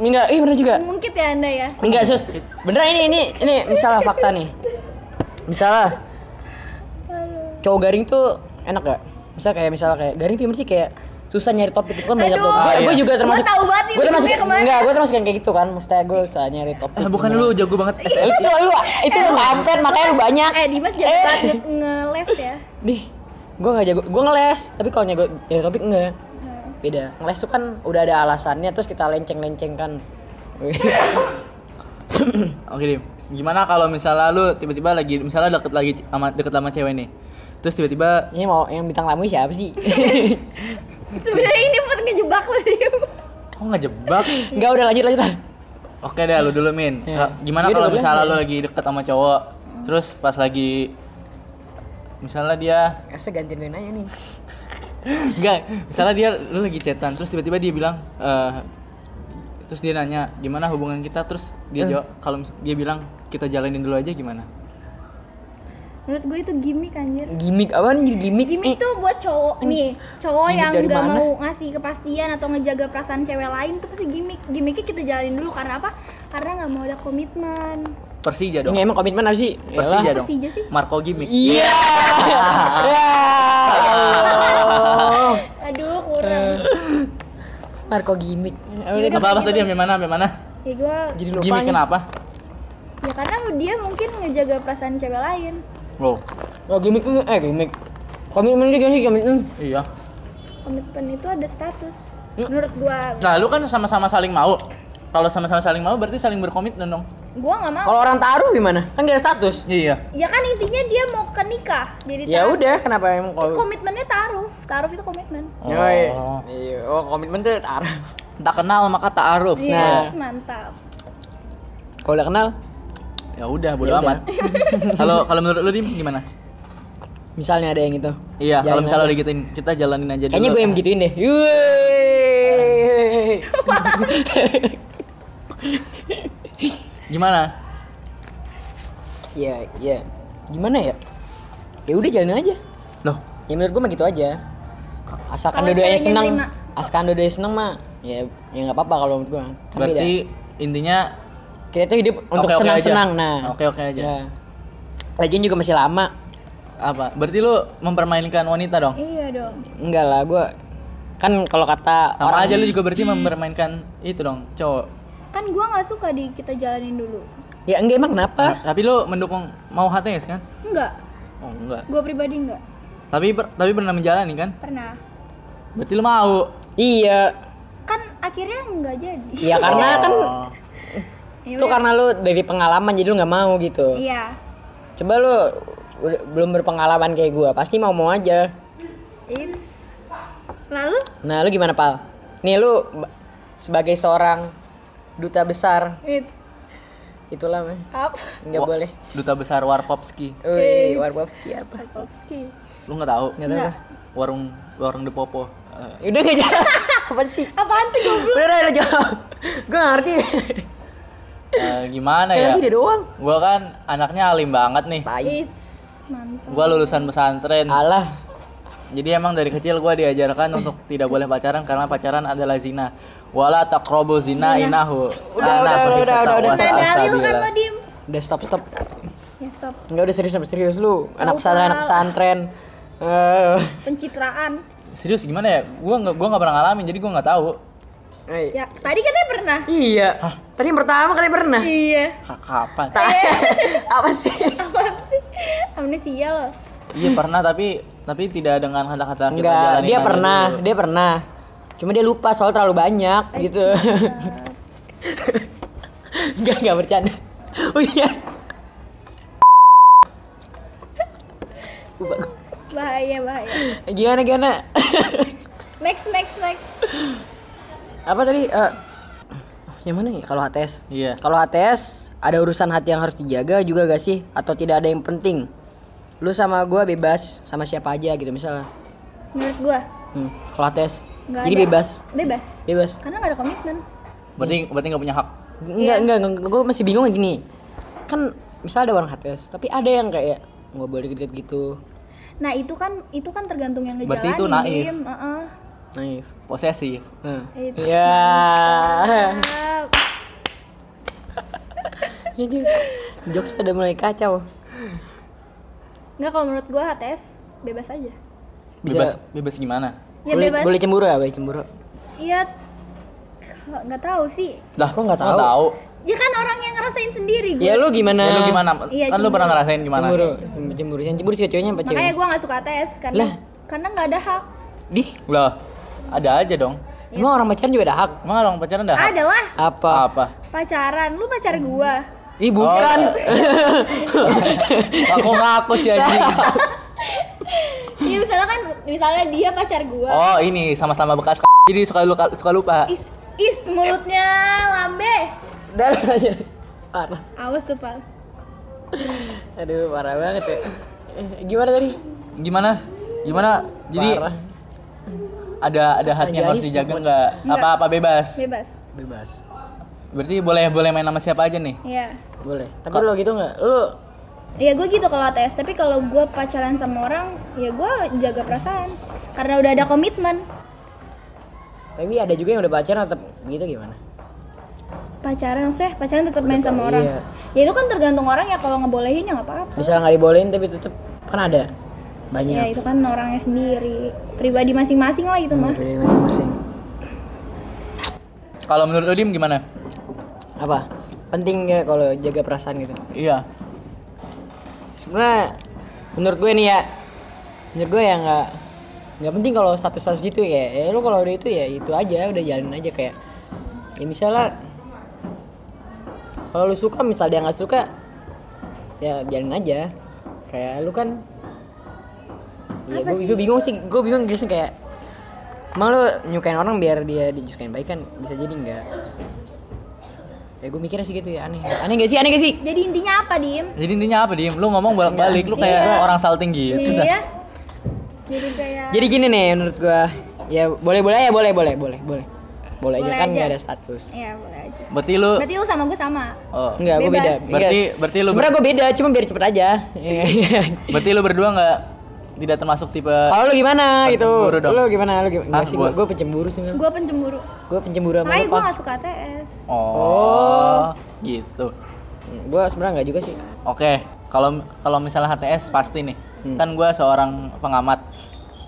[SPEAKER 2] Enggak, iya bener juga.
[SPEAKER 1] mungkin ya anda ya
[SPEAKER 2] Enggak, Sus. Beneran ini ini ini misalnya fakta nih. Misalnya cowok garing tuh enak gak? Misal kayak misalnya kayak garing tuh gimana sih kayak susah nyari topik itu kan banyak
[SPEAKER 1] Aduh.
[SPEAKER 2] banget.
[SPEAKER 4] Ah, iya.
[SPEAKER 2] Gue juga
[SPEAKER 1] Gua
[SPEAKER 2] termasuk.
[SPEAKER 1] tahu banget nih
[SPEAKER 2] Gue termasuk
[SPEAKER 1] ujungnya kemana.
[SPEAKER 2] enggak, gue termasuk yang kayak gitu kan. Maksudnya gue usah nyari topik.
[SPEAKER 4] Eh, bukan lu jago banget
[SPEAKER 2] Eh,
[SPEAKER 4] SL
[SPEAKER 2] Itu lu itu lu ngampet makanya lu banyak.
[SPEAKER 1] eh Dimas jago
[SPEAKER 2] Eh.
[SPEAKER 1] banget nge- ngeles ya
[SPEAKER 2] Dih, gue nggak jago. Gue ngeles, tapi kalau nyago nyari topik enggak.
[SPEAKER 1] Hmm.
[SPEAKER 2] Beda. Ngeles tuh kan udah ada alasannya terus kita lenceng-lencengkan. Iya.
[SPEAKER 4] oke Dim. gimana kalau misalnya lu tiba-tiba lagi misalnya deket lagi sama deket sama cewek nih terus tiba-tiba
[SPEAKER 2] Ini mau yang bintang tamu siapa sih?
[SPEAKER 1] sebenarnya ini buat ngejebak lo dia
[SPEAKER 4] kok nggak jebak
[SPEAKER 2] Enggak udah lanjut lanjut lah.
[SPEAKER 4] Oke deh, lu dulu Min.
[SPEAKER 2] Iya.
[SPEAKER 4] Gimana
[SPEAKER 2] Iya,
[SPEAKER 4] kalau
[SPEAKER 2] udah bilang,
[SPEAKER 4] misalnya
[SPEAKER 2] iya.
[SPEAKER 4] lu lagi deket sama cowok, terus pas lagi misalnya dia
[SPEAKER 2] Harusnya gantiin aja nih.
[SPEAKER 4] Enggak, misalnya dia lu lagi chatan, terus tiba-tiba dia bilang eh, terus dia nanya gimana hubungan kita, terus
[SPEAKER 2] Eh.
[SPEAKER 4] dia jawab kalau mis- dia bilang kita jalanin dulu aja gimana?
[SPEAKER 1] Menurut gue itu gimmick anjir.
[SPEAKER 2] Gimik apaan jadi gimik?
[SPEAKER 1] Gimmick tuh buat cowok nih, cowok
[SPEAKER 2] gimmick
[SPEAKER 1] yang
[SPEAKER 2] dari
[SPEAKER 1] nggak
[SPEAKER 2] mana?
[SPEAKER 1] mau ngasih kepastian atau ngejaga perasaan cewek lain tuh pasti gimmick. Gimmicknya kita jalanin dulu karena apa? Karena nggak mau ada komitmen.
[SPEAKER 4] Persija dong.
[SPEAKER 2] Ini emang komitmen apa Iya sih?
[SPEAKER 4] Persija
[SPEAKER 2] Yalah.
[SPEAKER 4] dong.
[SPEAKER 1] Persija sih.
[SPEAKER 4] Marco gimmick.
[SPEAKER 2] Iya. Ya Allah.
[SPEAKER 1] Aduh kurang.
[SPEAKER 2] Eh. Marco gimik.
[SPEAKER 4] Apa apa tadi sampai mana? Sampai mana?
[SPEAKER 1] Ya gue,
[SPEAKER 2] Jadi lupa.
[SPEAKER 4] Gimmick
[SPEAKER 2] nih.
[SPEAKER 4] kenapa?
[SPEAKER 1] ya karena dia mungkin ngejaga perasaan cewek lain.
[SPEAKER 4] Wow.
[SPEAKER 2] Oh, gimik tuh eh gimik. Komitmen juga sih komitmen.
[SPEAKER 4] Iya.
[SPEAKER 1] Komitmen itu ada status. Menurut gue,
[SPEAKER 4] Nah, lu kan sama-sama saling mau. Kalau sama-sama saling mau berarti saling berkomitmen dong.
[SPEAKER 1] gue nggak mau.
[SPEAKER 2] Kalau orang taruh gimana? Kan gak ada status.
[SPEAKER 4] Iya.
[SPEAKER 1] Ya kan intinya dia mau ke nikah. Jadi
[SPEAKER 2] Ya
[SPEAKER 1] taruh.
[SPEAKER 2] udah, kenapa emang kalau
[SPEAKER 1] Komitmennya taruh. Taruh itu komitmen.
[SPEAKER 4] Oh.
[SPEAKER 2] Yoi. Iya, oh komitmen tuh taruh.
[SPEAKER 4] Tak kenal maka tak aruf.
[SPEAKER 2] Nah.
[SPEAKER 1] Yes, mantap.
[SPEAKER 2] Kalau udah kenal,
[SPEAKER 4] Ya udah, bodo
[SPEAKER 2] Ya udah.
[SPEAKER 4] amat. Kalau kalau menurut lu Dim gimana?
[SPEAKER 2] misalnya ada yang itu.
[SPEAKER 4] Iya,
[SPEAKER 2] Jalanin
[SPEAKER 4] kalau misalnya
[SPEAKER 2] aja.
[SPEAKER 4] udah gituin, kita jalanin aja dulu.
[SPEAKER 2] Ya, Kayaknya gue yang gitu. gituin deh. Yeay.
[SPEAKER 4] Gimana?
[SPEAKER 2] Ya, ya. Gimana ya? Ya udah jalanin aja.
[SPEAKER 4] Loh,
[SPEAKER 2] Ya menurut gue mah gitu aja. Asalkan
[SPEAKER 1] Kalau
[SPEAKER 2] dua-duanya
[SPEAKER 1] ceweknya
[SPEAKER 2] senang,
[SPEAKER 1] nerima.
[SPEAKER 2] asalkan dua-duanya senang mah ya ya nggak apa-apa kalau menurut gue. Kan
[SPEAKER 4] berarti
[SPEAKER 2] beda.
[SPEAKER 4] intinya
[SPEAKER 2] kita tuh hidup untuk
[SPEAKER 4] oke-oke
[SPEAKER 2] senang-senang.
[SPEAKER 4] aja.
[SPEAKER 2] Nah,
[SPEAKER 4] Oke-oke aja.
[SPEAKER 2] ya. Lagian juga masih lama.
[SPEAKER 4] apa? Berarti lu mempermainkan wanita dong.
[SPEAKER 1] Iya dong.
[SPEAKER 2] Enggak lah, gue kan kalau kata
[SPEAKER 4] Sama
[SPEAKER 2] orang
[SPEAKER 4] aja lu juga berarti mempermainkan itu dong, cowok.
[SPEAKER 1] Kan gue nggak suka di kita jalanin dulu.
[SPEAKER 2] ya enggak emang kenapa?
[SPEAKER 4] Nah, Tapi lu mendukung mau HTS kan?
[SPEAKER 1] Enggak.
[SPEAKER 4] Oh, enggak.
[SPEAKER 1] Gue pribadi enggak.
[SPEAKER 4] Tapi per- tapi pernah menjalani kan?
[SPEAKER 1] Pernah.
[SPEAKER 4] Berarti lu mau.
[SPEAKER 2] Iya,
[SPEAKER 1] Kan akhirnya nggak jadi.
[SPEAKER 2] ya karena kan
[SPEAKER 4] Oh.
[SPEAKER 1] Ya
[SPEAKER 2] itu
[SPEAKER 1] udah.
[SPEAKER 2] karena lu dari pengalaman jadi lu nggak mau gitu.
[SPEAKER 1] Iya.
[SPEAKER 2] Coba lu udah- belum berpengalaman kayak gue, pasti mau-mau aja.
[SPEAKER 1] Itu. Lalu
[SPEAKER 2] Nah, lu gimana, Pal? Nih lu ba- sebagai seorang duta besar,
[SPEAKER 1] it
[SPEAKER 2] itulah meh.
[SPEAKER 1] up
[SPEAKER 2] Enggak
[SPEAKER 4] Wah.
[SPEAKER 2] boleh.
[SPEAKER 4] duta besar Warkopski.
[SPEAKER 2] Woi, Warkopski apa?
[SPEAKER 1] Tarkovsky.
[SPEAKER 4] Lu nggak tahu?
[SPEAKER 2] Enggak tahu.
[SPEAKER 1] Nggak.
[SPEAKER 4] Warung warung Depopo. Eh,
[SPEAKER 2] gua. Udah gak jalan. apa sih?
[SPEAKER 1] Apaan tuh goblok?
[SPEAKER 2] Udah, udah, udah jawab. Gue ngerti.
[SPEAKER 4] eh, gimana
[SPEAKER 2] Kayak
[SPEAKER 4] ya?
[SPEAKER 2] dia doang.
[SPEAKER 4] Gua kan anaknya alim banget nih.
[SPEAKER 2] Tai.
[SPEAKER 1] It's mantap.
[SPEAKER 4] Gua lulusan pesantren.
[SPEAKER 2] Alah.
[SPEAKER 4] Jadi emang dari kecil gua diajarkan untuk tidak boleh pacaran karena pacaran adalah zina. Wala taqrabu zina inahu.
[SPEAKER 2] Iya. Udah, udah, udah, udah, udah,
[SPEAKER 1] Ada dalil kan lo dim?
[SPEAKER 2] Udah stop, stop.
[SPEAKER 1] Ya stop.
[SPEAKER 2] Enggak udah serius, serius lu.
[SPEAKER 1] Tahu,
[SPEAKER 2] Anak pesantren, anak
[SPEAKER 1] Pal.
[SPEAKER 2] pesantren. Eh,
[SPEAKER 1] Pencitraan.
[SPEAKER 4] Serius gimana ya? Gua nggak gua nggak pernah ngalamin jadi gua nggak tahu.
[SPEAKER 2] eh,
[SPEAKER 1] Ya, tadi katanya pernah.
[SPEAKER 2] Iya. Tadi yang pertama kali pernah.
[SPEAKER 1] Iya.
[SPEAKER 4] Ka- Kapan?
[SPEAKER 2] Ta- apa sih?
[SPEAKER 1] Amnesia lo.
[SPEAKER 4] Iya pernah tapi tapi tidak dengan kata-kata kita
[SPEAKER 2] Enggak,
[SPEAKER 4] jalanin
[SPEAKER 2] dia
[SPEAKER 4] aja
[SPEAKER 2] pernah,
[SPEAKER 4] dulu.
[SPEAKER 2] dia pernah. Cuma dia lupa soal terlalu banyak gitu. Enggak, enggak bercanda. Oh iya. Lupa gua.
[SPEAKER 1] Bahaya, bahaya.
[SPEAKER 2] Gimana gimana?
[SPEAKER 1] Next, next, next.
[SPEAKER 2] Apa tadi? Eh, yang mana ya? Kalau HTS.
[SPEAKER 4] Iya.
[SPEAKER 2] Kalau HTS ada urusan hati yang harus dijaga juga gak sih? Atau tidak ada yang penting? Lu sama gua bebas sama siapa aja gitu misalnya.
[SPEAKER 1] Menurut gua
[SPEAKER 2] Hmm, kalau HTS.
[SPEAKER 1] Nggak
[SPEAKER 2] Jadi
[SPEAKER 1] ada.
[SPEAKER 2] bebas.
[SPEAKER 1] bebas.
[SPEAKER 2] Bebas.
[SPEAKER 1] Karena nggak ada komitmen.
[SPEAKER 4] Berarti berarti nggak punya hak.
[SPEAKER 2] Enggak,
[SPEAKER 1] Iya.
[SPEAKER 2] enggak, gue masih bingung gini. Kan misalnya ada orang HTS, tapi ada yang kayak nggak boleh deket gitu.
[SPEAKER 1] Nah itu kan itu kan tergantung yang ngejalanin.
[SPEAKER 4] Berarti itu naif.
[SPEAKER 1] Dim. Heeh.
[SPEAKER 2] Naif.
[SPEAKER 4] Posesif.
[SPEAKER 2] Nah.
[SPEAKER 1] Itu.
[SPEAKER 2] Ya.
[SPEAKER 1] Ah,
[SPEAKER 2] Ya, Jim. Jokes udah mulai kacau.
[SPEAKER 1] Nggak kalau menurut gua HTS bebas aja.
[SPEAKER 4] Bebas
[SPEAKER 2] Bisa
[SPEAKER 4] bebas gimana?
[SPEAKER 1] Ya
[SPEAKER 2] boleh,
[SPEAKER 1] bebas.
[SPEAKER 2] boleh cemburu ya, boleh cemburu.
[SPEAKER 1] Iya. Nggak- Nggak tahu sih.
[SPEAKER 4] Lah,
[SPEAKER 2] Kok nggak
[SPEAKER 4] nggak
[SPEAKER 2] tahu?
[SPEAKER 4] tahu?
[SPEAKER 1] Ya kan orang yang ngerasain sendiri
[SPEAKER 2] Ya
[SPEAKER 1] gua.
[SPEAKER 2] lu gimana?
[SPEAKER 4] Ya lu gimana?
[SPEAKER 1] Iya,
[SPEAKER 4] kan lu
[SPEAKER 1] cemburu.
[SPEAKER 4] pernah ngerasain gimana?
[SPEAKER 2] Cemburu. Cemburu. Yang cemburu cewek ceweknya apa cewek?
[SPEAKER 1] Makanya gua nggak suka HTS karena
[SPEAKER 2] Lah.
[SPEAKER 1] karena nggak ada hak.
[SPEAKER 2] Di,
[SPEAKER 1] Iya.
[SPEAKER 4] Lah, ada aja dong.
[SPEAKER 2] emang orang pacaran juga ada hak.
[SPEAKER 4] Emang orang pacaran ada hak?
[SPEAKER 1] Ada lah
[SPEAKER 2] Apa?
[SPEAKER 4] Apa?
[SPEAKER 1] pacaran. Lu pacar gua.
[SPEAKER 2] Ih, bukan.
[SPEAKER 4] Oh. Aku ngaku sih anjing.
[SPEAKER 1] Iya misalnya kan misalnya dia pacar gua.
[SPEAKER 4] Oh, ini sama-sama bekas k- jadi suka lupa suka lupa.
[SPEAKER 1] Is, is mulutnya lambe.
[SPEAKER 2] Dan aja. Parah.
[SPEAKER 1] Awas tuh, Pak.
[SPEAKER 2] Aduh, parah banget ya. Eh, Gimana tadi?
[SPEAKER 4] Gimana? Gimana? Jadi
[SPEAKER 2] Parah.
[SPEAKER 4] ada ada hati yang harus
[SPEAKER 2] Ajaib,
[SPEAKER 4] dijaga
[SPEAKER 2] bukan-
[SPEAKER 4] nggak?
[SPEAKER 1] Nggak.
[SPEAKER 4] Apa apa bebas.
[SPEAKER 1] bebas
[SPEAKER 2] bebas.
[SPEAKER 4] Berarti boleh boleh main sama siapa aja nih?
[SPEAKER 1] iya
[SPEAKER 2] Boleh. Tapi lo gitu nggak? Lo
[SPEAKER 1] ya gue gitu kalau ATS tapi kalau gue pacaran sama orang ya gue jaga perasaan karena udah ada komitmen
[SPEAKER 2] tapi ada juga yang udah pacaran tetap gitu gimana?
[SPEAKER 1] pacaran maksudnya pacaran tetap main sama orang
[SPEAKER 2] Iya.
[SPEAKER 1] ya itu kan tergantung orang ya kalau ngebolehin ya nggak apa-apa
[SPEAKER 2] Misalnya nggak dibolehin tapi tetap kan ada banyak.
[SPEAKER 1] ya itu kan orangnya sendiri pribadi masing-masing lah gitu mah
[SPEAKER 2] Dari masing-masing.
[SPEAKER 4] Kalau menurut lo Dim gimana?
[SPEAKER 2] Apa? Penting nggak kalau jaga perasaan gitu?
[SPEAKER 4] Iya.
[SPEAKER 2] sebenarnya menurut gue nih ya menurut gue ya nggak nggak penting kalau status status gitu ya ya lu kalau udah itu ya itu aja udah jalin aja kayak ya misalnya kalau lu suka misal dia nggak suka ya jalin aja kayak lu kan ya gue, gue bingung sih gue bingung gitu sih kayak emang lu nyukain orang biar dia disukain baik kan bisa jadi nggak ya gue mikirnya sih gitu ya aneh aneh gak sih aneh gak sih
[SPEAKER 1] jadi intinya apa dim
[SPEAKER 4] Jadi intinya apa Dim? Lu ngomong bolak-balik, lu kayak
[SPEAKER 1] Iya.
[SPEAKER 4] orang salting gitu.
[SPEAKER 1] iya jadi kayak
[SPEAKER 2] Jadi gini nih menurut gua, ya boleh boleh ya boleh boleh boleh boleh boleh aja
[SPEAKER 1] Boleh
[SPEAKER 2] kan
[SPEAKER 1] aja.
[SPEAKER 2] nggak ada status.
[SPEAKER 1] ya boleh aja
[SPEAKER 4] Berarti lu
[SPEAKER 1] berarti lu sama gue sama
[SPEAKER 4] oh.
[SPEAKER 2] Enggak, gua
[SPEAKER 1] Bebas.
[SPEAKER 2] beda. Iya.
[SPEAKER 4] Berarti- berarti lu-
[SPEAKER 2] Sebenarnya gua beda, cuma biar cepet aja. Iya.
[SPEAKER 4] Berarti lu berdua nggak tidak termasuk tipe
[SPEAKER 2] Kalau lu gimana gitu?
[SPEAKER 4] Pencemburu dong.
[SPEAKER 2] Lu gimana? Lu gimana? Enggak
[SPEAKER 4] Ah,
[SPEAKER 2] sih, gua,
[SPEAKER 4] gua.
[SPEAKER 2] gua pencemburu sih. Mel.
[SPEAKER 1] gue pencemburu
[SPEAKER 2] Gua pencemburu sama
[SPEAKER 1] makanya
[SPEAKER 2] lu.
[SPEAKER 1] gue
[SPEAKER 2] Pak.
[SPEAKER 1] nggak suka ATS
[SPEAKER 4] Oh, gitu.
[SPEAKER 2] Gua sebenarnya enggak juga sih.
[SPEAKER 4] Oke, kalau kalau misalnya HTS pasti nih. Kan gua seorang pengamat.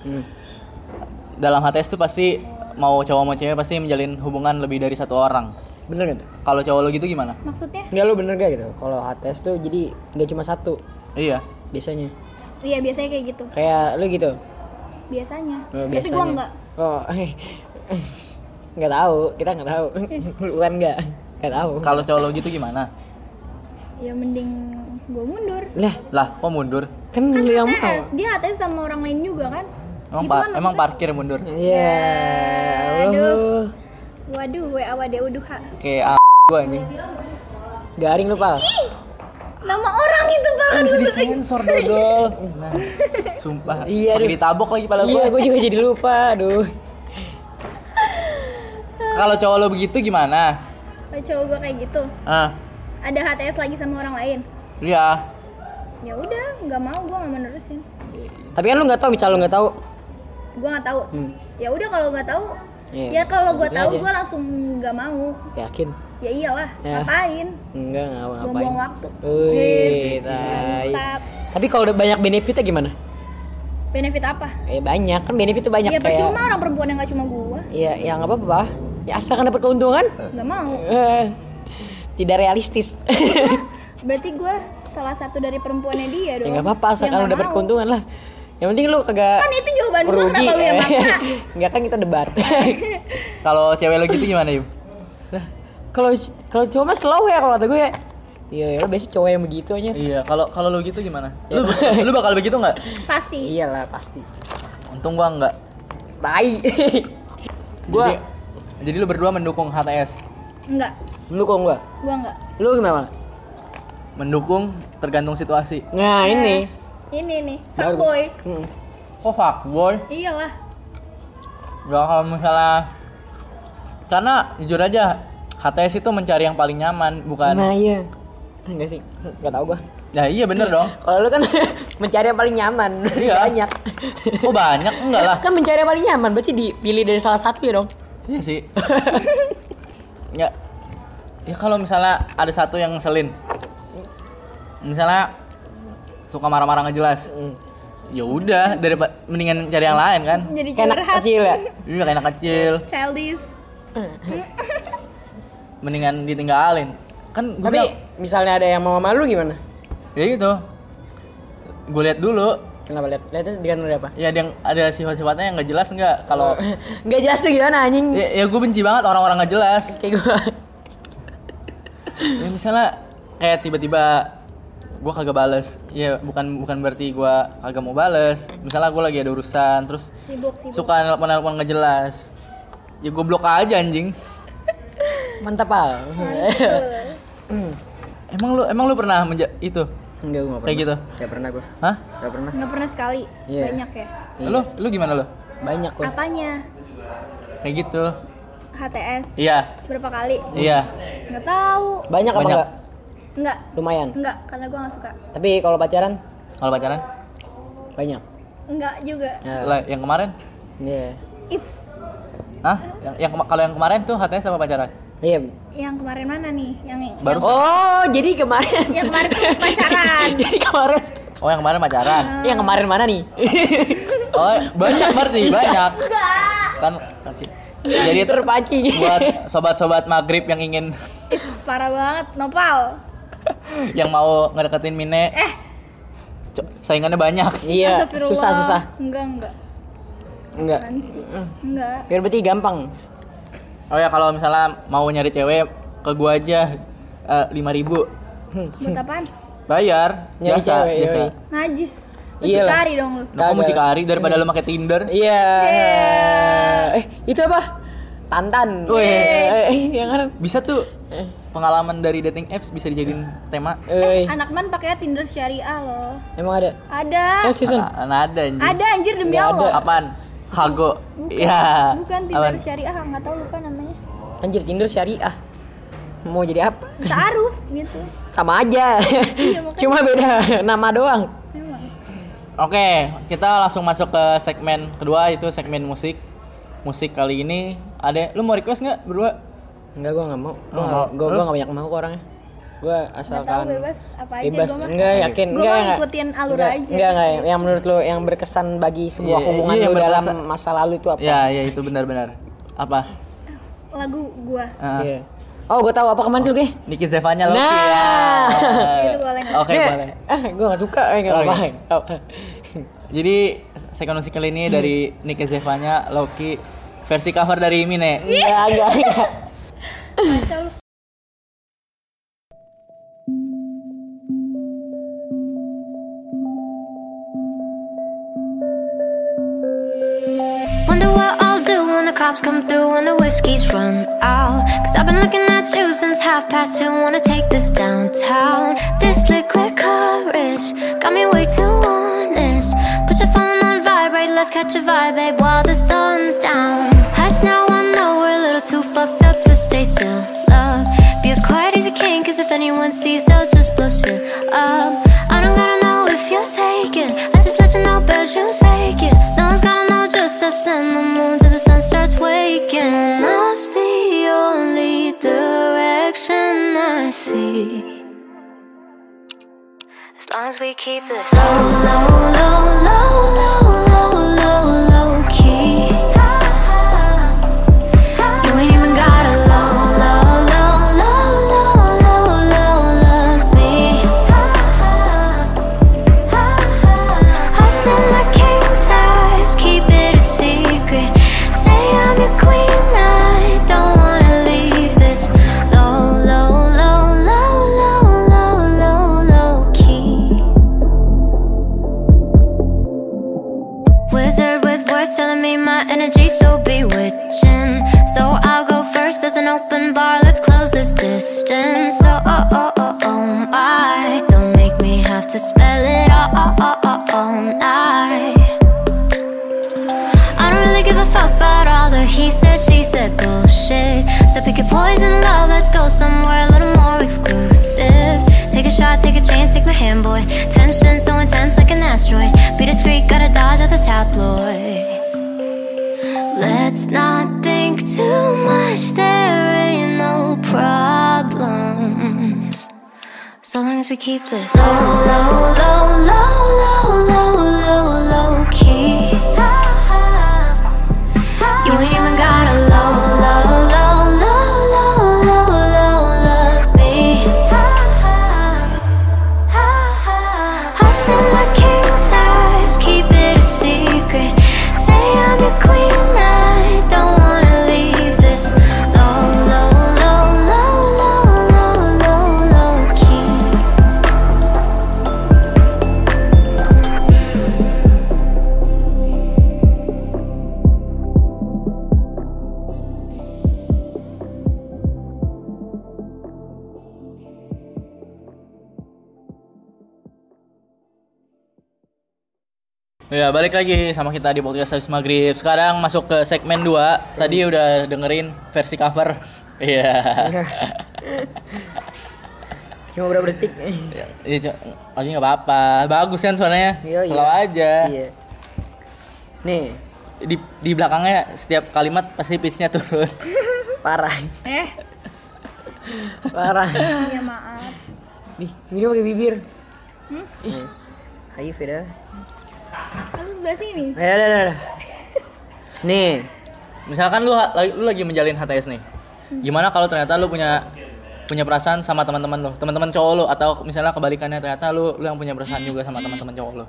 [SPEAKER 2] Hmm.
[SPEAKER 4] Dalam HTS tuh pasti mau cowok mau cewek pasti menjalin hubungan lebih dari satu orang.
[SPEAKER 2] Bener gak tuh?
[SPEAKER 4] Kalau cowok lo gitu gimana?
[SPEAKER 1] maksudnya
[SPEAKER 2] Enggak lu bener gak gitu? Kalau HTS tuh jadi nggak cuma satu
[SPEAKER 4] Iya.
[SPEAKER 2] biasanya.
[SPEAKER 1] iya biasanya kayak gitu
[SPEAKER 2] Kayak lu gitu.
[SPEAKER 1] biasanya
[SPEAKER 2] Oh,
[SPEAKER 1] tapi gue
[SPEAKER 2] biasanya.
[SPEAKER 1] nggak
[SPEAKER 2] Oh. Enggak tahu, kita enggak tahu. Bukan enggak. Enggak tahu.
[SPEAKER 4] Kalau cowok lo gitu gimana?
[SPEAKER 1] ya mending gue mundur
[SPEAKER 2] Lah,
[SPEAKER 4] Lah, kok mundur?
[SPEAKER 2] kan
[SPEAKER 1] kan
[SPEAKER 2] lu yang
[SPEAKER 1] ATS
[SPEAKER 2] mau.
[SPEAKER 1] dia ATS sama orang lain juga kan
[SPEAKER 4] Emang,
[SPEAKER 1] Gitu
[SPEAKER 4] par-
[SPEAKER 1] kan
[SPEAKER 4] emang
[SPEAKER 1] maksudnya.
[SPEAKER 4] parkir mundur?
[SPEAKER 2] Iya.
[SPEAKER 1] Ya, Aduh.
[SPEAKER 2] Aduh.
[SPEAKER 1] waduh wa awade uduha
[SPEAKER 4] Kayak a gue anjing.
[SPEAKER 2] Iya. Garing lu,
[SPEAKER 1] Kan
[SPEAKER 2] Pal.
[SPEAKER 1] nama orang itu
[SPEAKER 4] Kan
[SPEAKER 1] banget
[SPEAKER 4] bisa disensor dodol. Nah, sumpah.
[SPEAKER 2] Iya,
[SPEAKER 4] Pakai
[SPEAKER 2] aduh.
[SPEAKER 4] ditabok lagi pala
[SPEAKER 2] Iya,
[SPEAKER 4] gue.
[SPEAKER 2] gue juga jadi lupa. Aduh.
[SPEAKER 4] Kalau cowok lo begitu gimana?
[SPEAKER 1] Kalau cowok gue kayak gitu
[SPEAKER 4] Ah,
[SPEAKER 1] ada HTS lagi sama orang lain
[SPEAKER 4] iya.
[SPEAKER 1] ya udah nggak mau gue nggak mau nerusin
[SPEAKER 2] Tapi kan lu nggak tahu, misal lu nggak tahu.
[SPEAKER 1] gue nggak tahu
[SPEAKER 2] Hmm.
[SPEAKER 1] ya udah kalau nggak tahu
[SPEAKER 2] Iya,
[SPEAKER 1] ya kalau gue
[SPEAKER 2] lanjutin
[SPEAKER 1] tahu
[SPEAKER 2] aja.
[SPEAKER 1] gue langsung nggak mau
[SPEAKER 2] Yakin?
[SPEAKER 1] ya iyalah
[SPEAKER 2] Ya.
[SPEAKER 1] ngapain
[SPEAKER 2] Enggak, enggak apa ngapain.
[SPEAKER 1] buang-buang waktu
[SPEAKER 2] Wih,
[SPEAKER 1] Hits,
[SPEAKER 2] tai.
[SPEAKER 1] mantap
[SPEAKER 2] Tapi kalau udah banyak benefitnya gimana?
[SPEAKER 1] benefit apa
[SPEAKER 2] Eh banyak, kan benefit tuh banyak
[SPEAKER 1] ya
[SPEAKER 2] kayak.
[SPEAKER 1] percuma orang perempuan yang nggak cuma gue
[SPEAKER 2] Iya, ya nggak apa-apa. Ya asalkan dapat keuntungan.
[SPEAKER 1] nggak mau
[SPEAKER 2] Eh, Tidak realistis.
[SPEAKER 1] berarti gue salah satu dari perempuannya dia
[SPEAKER 2] ya
[SPEAKER 1] dong
[SPEAKER 2] nggak apa-apa,
[SPEAKER 1] Ya,
[SPEAKER 2] asalkan lu
[SPEAKER 1] nggak
[SPEAKER 2] dapat
[SPEAKER 1] mau.
[SPEAKER 2] keuntungan lah. Yang penting lu kagak
[SPEAKER 1] kan itu jawaban gue kenapa lu yang maksa
[SPEAKER 2] Enggak kan kita debat.
[SPEAKER 4] Kalau cewek lo gitu gimana, Yum?
[SPEAKER 2] Lah, kalau kalau cowok mah slow ya kalau kata gue. Iya, ya, lo biasa cowok yang begitu aja.
[SPEAKER 4] Iya, kalau kalau lo gitu gimana?
[SPEAKER 2] Iya.
[SPEAKER 4] Lu, lu bakal begitu nggak?
[SPEAKER 1] pasti
[SPEAKER 2] Iyalah pasti.
[SPEAKER 4] Untung gua nggak.
[SPEAKER 2] Tai.
[SPEAKER 4] Jadi,
[SPEAKER 2] gua
[SPEAKER 4] jadi lu berdua mendukung HTS.
[SPEAKER 1] enggak
[SPEAKER 2] lu kok gua.
[SPEAKER 1] gue enggak
[SPEAKER 2] Lu gimana?
[SPEAKER 4] Mendukung tergantung situasi.
[SPEAKER 2] Nah, ini.
[SPEAKER 1] ini nih
[SPEAKER 2] Bagus.
[SPEAKER 1] fuckboy
[SPEAKER 2] Mm.
[SPEAKER 4] Kok fuckboy?
[SPEAKER 1] iyalah
[SPEAKER 4] Ya kalau misalnya karena jujur aja HTS itu mencari yang paling nyaman, bukan.
[SPEAKER 2] Nah, iya. Enggak sih. Enggak tahu gua.
[SPEAKER 4] Nah, iya bener dong.
[SPEAKER 2] Kalau lu kan mencari yang paling nyaman.
[SPEAKER 4] Iya.
[SPEAKER 2] Banyak.
[SPEAKER 4] Kok banyak? Enggak lah.
[SPEAKER 2] Kan mencari yang paling nyaman berarti dipilih dari salah satu ya dong.
[SPEAKER 4] Iya sih. ya. Ya kalau misalnya ada satu yang ngeselin. Misalnya suka marah-marah nggak jelas.
[SPEAKER 2] Mm.
[SPEAKER 4] Ya udah, daripada mendingan cari yang lain kan.
[SPEAKER 1] jadi
[SPEAKER 2] Kayak anak
[SPEAKER 1] curhat
[SPEAKER 2] kecil ya.
[SPEAKER 4] Iya kayak anak kecil,
[SPEAKER 1] childish
[SPEAKER 4] mendingan ditinggalin. Kan gue
[SPEAKER 2] Tapi misalnya ada yang mau sama lu gimana?
[SPEAKER 4] ya gitu. Gue lihat dulu,
[SPEAKER 2] Kenapa lihat? Lihatnya dengan udah apa?
[SPEAKER 4] ya ada yang ada sifat-sifatnya yang nggak jelas nggak kalau
[SPEAKER 2] Enggak jelas tuh gimana anjing.
[SPEAKER 4] ya, gue benci banget orang-orang nggak jelas.
[SPEAKER 2] Kayak gua.
[SPEAKER 4] Ya, misalnya kayak tiba-tiba gue kagak bales, ya bukan bukan berarti gue kagak mau bales. Misalnya gue lagi ada urusan, terus
[SPEAKER 1] sibuk sibuk
[SPEAKER 4] suka nelpon-nelpon nggak jelas. Ya gue blok aja anjing.
[SPEAKER 2] Mantap, Pal.
[SPEAKER 1] Mantul.
[SPEAKER 4] Emang lu emang lu pernah menja- itu
[SPEAKER 2] Enggak, gue nggak pernah.
[SPEAKER 4] Hmm. Kayak gitu.
[SPEAKER 2] Gak pernah gue.
[SPEAKER 4] Hah?
[SPEAKER 2] Gak pernah.
[SPEAKER 1] nggak pernah sekali
[SPEAKER 2] Iya.
[SPEAKER 1] banyak ya
[SPEAKER 2] Iya.
[SPEAKER 4] Lu lu gimana lu?
[SPEAKER 2] Banyak gue.
[SPEAKER 1] apanya
[SPEAKER 4] Kayak gitu.
[SPEAKER 1] HTS
[SPEAKER 4] Iya.
[SPEAKER 1] berapa kali
[SPEAKER 4] Iya.
[SPEAKER 1] nggak tahu
[SPEAKER 2] Banyak, apa
[SPEAKER 4] Banyak.
[SPEAKER 2] enggak?
[SPEAKER 1] nggak
[SPEAKER 2] Lumayan.
[SPEAKER 1] nggak karena gue nggak suka
[SPEAKER 2] Tapi kalau pacaran
[SPEAKER 4] Kalau pacaran?
[SPEAKER 2] banyak.
[SPEAKER 1] nggak juga
[SPEAKER 2] Nah,
[SPEAKER 4] Lah, yang kemarin?
[SPEAKER 2] Iya.
[SPEAKER 1] it's
[SPEAKER 4] Hah? Yang, yang kema- kalau yang kemarin tuh HTS sama pacaran?
[SPEAKER 2] Iya.
[SPEAKER 1] yang kemarin mana nih yang
[SPEAKER 4] Baru.
[SPEAKER 2] Oh, jadi kemarin.
[SPEAKER 1] yang kemarin tuh pacaran
[SPEAKER 2] jadi kemarin.
[SPEAKER 4] Oh, yang kemarin pacaran.
[SPEAKER 2] Yang kemarin mana nih?
[SPEAKER 4] Oh, banyak berarti, banyak.
[SPEAKER 1] enggak
[SPEAKER 4] Kan jadi
[SPEAKER 2] terpancing.
[SPEAKER 4] buat sobat-sobat maghrib yang ingin
[SPEAKER 1] it's parah banget nopal
[SPEAKER 4] yang mau ngedeketin Mine
[SPEAKER 1] eh
[SPEAKER 4] co- saingannya banyak
[SPEAKER 2] Iya,
[SPEAKER 1] astagfirullah.
[SPEAKER 2] susah susah.
[SPEAKER 1] enggak enggak
[SPEAKER 2] Enggak.
[SPEAKER 1] Apaan sih? enggak
[SPEAKER 2] Biar berarti gampang.
[SPEAKER 4] oh ya kalau misalnya mau nyari cewek ke gua aja eh, lima ribu
[SPEAKER 1] buat
[SPEAKER 2] Hmm.
[SPEAKER 1] apaan
[SPEAKER 4] bayar
[SPEAKER 2] Nyari
[SPEAKER 4] jasa
[SPEAKER 2] cewek,
[SPEAKER 4] jasa
[SPEAKER 2] yoi.
[SPEAKER 1] najis lu
[SPEAKER 2] Iyalah.
[SPEAKER 1] citari dong lu
[SPEAKER 4] nah, kamu
[SPEAKER 2] Kagak.
[SPEAKER 4] mucikari daripada lu pakai Tinder
[SPEAKER 2] Iya.
[SPEAKER 1] Yeah.
[SPEAKER 2] Eh, itu apa? Tantan.
[SPEAKER 4] Weh.
[SPEAKER 2] Eh, Yang kan.
[SPEAKER 4] bisa tuh
[SPEAKER 2] Eh,
[SPEAKER 4] pengalaman dari dating apps bisa dijadiin tema
[SPEAKER 2] eh,
[SPEAKER 1] anak man pakai tinder syariah loh
[SPEAKER 2] emang ada? Oh,
[SPEAKER 1] ada
[SPEAKER 2] season.
[SPEAKER 4] Ah, nah, ada anjing
[SPEAKER 1] Iya, ada anjir demi
[SPEAKER 2] Nggak ada.
[SPEAKER 1] allah
[SPEAKER 4] apaan hago
[SPEAKER 1] Bukan,
[SPEAKER 2] Iya.
[SPEAKER 4] ya
[SPEAKER 1] bukan
[SPEAKER 4] apaan?
[SPEAKER 1] Tinder syariah, ah, nggak tahu lupa namanya.
[SPEAKER 2] Anjir Tinder syariah. Mau jadi apa?
[SPEAKER 1] Taaruf gitu.
[SPEAKER 2] Sama aja.
[SPEAKER 1] Iya, makanya.
[SPEAKER 2] Cuma beda nama doang.
[SPEAKER 1] Memang.
[SPEAKER 4] oke kita langsung masuk ke segmen kedua itu segmen musik musik kali ini ada lu mau request nggak berdua
[SPEAKER 2] Enggak, gua nggak mau. Gua
[SPEAKER 4] Nggak
[SPEAKER 2] nggak-
[SPEAKER 4] mau.
[SPEAKER 2] gua
[SPEAKER 4] Lu?
[SPEAKER 2] gua nggak banyak mau ke orangnya. Gua
[SPEAKER 1] Nggak tahu
[SPEAKER 2] asalkan
[SPEAKER 1] bebas apa aja
[SPEAKER 2] bebas.
[SPEAKER 1] gua mah.
[SPEAKER 2] Enggak yakin.
[SPEAKER 1] Gua
[SPEAKER 2] Enggak.
[SPEAKER 1] mau
[SPEAKER 2] enggak.
[SPEAKER 1] ngikutin alur
[SPEAKER 2] Enggak,
[SPEAKER 1] aja.
[SPEAKER 2] Enggak, enggak. Yang menurut lo yang berkesan bagi sebuah
[SPEAKER 4] Iya,
[SPEAKER 2] hubungan
[SPEAKER 4] iya,
[SPEAKER 2] lo
[SPEAKER 4] yang
[SPEAKER 2] dalam
[SPEAKER 4] berkesan.
[SPEAKER 2] masa lalu itu apa?
[SPEAKER 4] ya ya itu benar-benar apa
[SPEAKER 1] Lagu gua.
[SPEAKER 4] Ah,
[SPEAKER 2] Iya. Oh, gua tahu apa kemarin tuh, Ge?
[SPEAKER 4] Niki Zevanya Loki
[SPEAKER 2] Nah.
[SPEAKER 4] ya.
[SPEAKER 1] Itu boleh.
[SPEAKER 4] Oke
[SPEAKER 2] Nih,
[SPEAKER 4] boleh.
[SPEAKER 2] Ah, gua gak suka. Eh, gak
[SPEAKER 4] Oke.
[SPEAKER 2] apa-apa.
[SPEAKER 4] Jadi second music kali ini dari Niki Zevanya Loki versi cover dari Mine.
[SPEAKER 2] Enggak, enggak, enggak.
[SPEAKER 1] Kacau lu.
[SPEAKER 3] Wonder what I'll do when the cops come through and the whiskey's run out. Cause I've been looking at you since half past two. Wanna take this downtown. This liquid courage got me way too honest. Put your phone on vibrate, let's catch a vibe, babe, while the sun's down. Hush now, I know we're a little too fucked up to stay still. Love, be as quiet as you can, cause if anyone sees, they'll just blow shit up. I don't gotta know if you're taking. I just let you know bedroom's vacant. No one's gonna know just us and the moon till the sun starts waking. Up's the only direction I see. As long as we keep this low, low, low, low, low, low, low, low key. You ain't even gotta low, low, low, low, low, low, low, love me. Us in my king size, keep it a secret. Say I'm your queen, I don't wanna leave this low, low, low, low, low, low, low, low key. Wizard with words telling me my energy's so bewitching. So I'll go first. There's an open bar. Let's close this distance. Oh oh oh oh oh my! Don't make me have to spell it all, all, all, all, all night. I don't really give a fuck about all the he said, she said bullshit. So pick your poison, love. Let's go somewhere a little more exclusive. Take a shot, take a chance, take my hand, boy. Tension so intense, like an asteroid. Be discreet, gotta dodge at the tabloids. Let's not think too much. There ain't no problems. So long as we keep this low, low, low, low, low, low, low, low key. You ain't even gotta low, low, low, low, low, low, low, love me. Us in my king size, keep it a secret. Say I'm your queen, I don't wanna leave this low, low, low, low, low, low, low, low key.
[SPEAKER 4] Ya, balik lagi sama kita di podcast habis maghrib. Sekarang masuk ke segmen 2. Tadi udah dengerin versi cover. Iya.
[SPEAKER 2] Cuma berapa detik?
[SPEAKER 4] Iya, co- lagi nggak apa-apa. Bagus kan suaranya.
[SPEAKER 2] Iya,
[SPEAKER 4] Slow
[SPEAKER 2] iya.
[SPEAKER 4] aja.
[SPEAKER 2] Iya. Nih,
[SPEAKER 4] Di, di belakangnya setiap kalimat pasti pitch-nya turun.
[SPEAKER 2] parah.
[SPEAKER 1] Eh,
[SPEAKER 2] Parah.
[SPEAKER 1] ya maaf.
[SPEAKER 2] Nih, minum pakai bibir.
[SPEAKER 1] Hmm?
[SPEAKER 2] Nih. Ayo, Feda.
[SPEAKER 1] Harus sebelah sini.
[SPEAKER 2] Ayo, ayo, ayo, ayo. Nih,
[SPEAKER 4] Misalkan lu ha- lagi- lu lagi menjalin HTS nih.
[SPEAKER 2] Hmm.
[SPEAKER 4] Gimana kalau ternyata lu punya punya perasaan sama teman-teman lu, teman-teman cowok lu atau misalnya kebalikannya ternyata lu lu yang punya perasaan juga sama teman-teman cowok lu.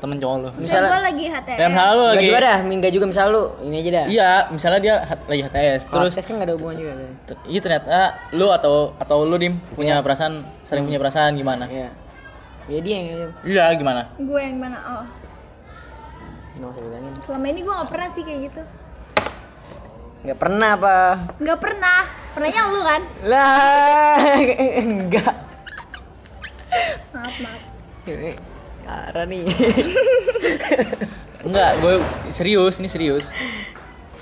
[SPEAKER 4] Temen cowok lu.
[SPEAKER 1] Misalnya,
[SPEAKER 2] Misalnya-
[SPEAKER 1] gue lagi HTM.
[SPEAKER 4] Ya, misalnya lu
[SPEAKER 2] Gak
[SPEAKER 4] lagi
[SPEAKER 2] juga dah, enggak juga misal lu ini aja dah.
[SPEAKER 4] Iya, misalnya dia hat- lagi HTS, terus
[SPEAKER 2] Terus kan gak ada hubungan juga. kan?
[SPEAKER 4] ter- iya ternyata lu atau atau lu dim punya perasaan, sering punya perasaan gimana?
[SPEAKER 2] Iya. Ya dia yang yang-
[SPEAKER 4] Iya, gimana?
[SPEAKER 1] Gue yang mana? Oh,
[SPEAKER 2] nggak usah bilangin.
[SPEAKER 1] selama ini gue gak pernah sih kayak gitu.
[SPEAKER 2] Gak pernah apa?
[SPEAKER 1] Gak pernah. Pernahnya lu kan?
[SPEAKER 2] Lah, enggak.
[SPEAKER 1] Maaf, maaf.
[SPEAKER 2] Ini Parah nih.
[SPEAKER 4] Enggak, gue serius, ini serius.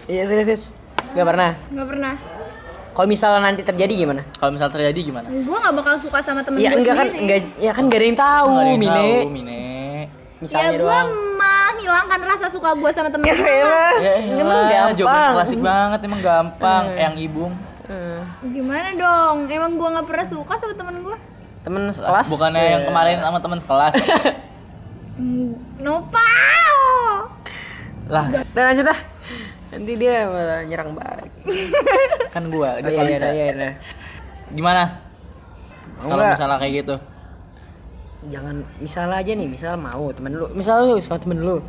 [SPEAKER 2] Iya serius, serius. Gak pernah.
[SPEAKER 1] Gak pernah.
[SPEAKER 2] Kalau misalnya nanti terjadi gimana?
[SPEAKER 4] Kalau misal terjadi gimana?
[SPEAKER 1] Gue gak bakal suka sama temen
[SPEAKER 2] Ya
[SPEAKER 1] gue
[SPEAKER 2] enggak kan,
[SPEAKER 1] sendiri.
[SPEAKER 2] enggak, ya kan gak ada yang tahu,
[SPEAKER 4] Nggak ada yang
[SPEAKER 2] Mine.
[SPEAKER 4] tahu, Iya, Mine.
[SPEAKER 1] Ya
[SPEAKER 2] Misalnya
[SPEAKER 1] gue
[SPEAKER 2] doang.
[SPEAKER 1] menghilangkan rasa suka gue sama temen gue
[SPEAKER 2] elah.
[SPEAKER 4] Ya,
[SPEAKER 2] Emang
[SPEAKER 4] elah, jawaban
[SPEAKER 2] gampang. Iya.
[SPEAKER 4] klasik banget, emang gampang. Eyang ibung.
[SPEAKER 2] Eh,
[SPEAKER 1] Gimana dong? Emang gue gak pernah suka sama temen gue?
[SPEAKER 2] Temen sekelas.
[SPEAKER 4] Bukannya
[SPEAKER 2] ya.
[SPEAKER 4] yang kemarin sama teman sekelas.
[SPEAKER 1] Hmm, Nopal!
[SPEAKER 4] lah,
[SPEAKER 2] Dan lanjut lah. Nanti dia malah nyerang balik.
[SPEAKER 4] kan gua.
[SPEAKER 2] Oh,
[SPEAKER 4] Dia
[SPEAKER 2] iya,
[SPEAKER 4] kalau
[SPEAKER 2] iya,
[SPEAKER 4] bisa.
[SPEAKER 2] iya, iya.
[SPEAKER 4] Gimana?
[SPEAKER 2] Mau
[SPEAKER 4] Kalau
[SPEAKER 2] nggak?
[SPEAKER 4] misalnya kayak gitu.
[SPEAKER 2] jangan misal aja nih misal mau temen lu misal lu suka temen lu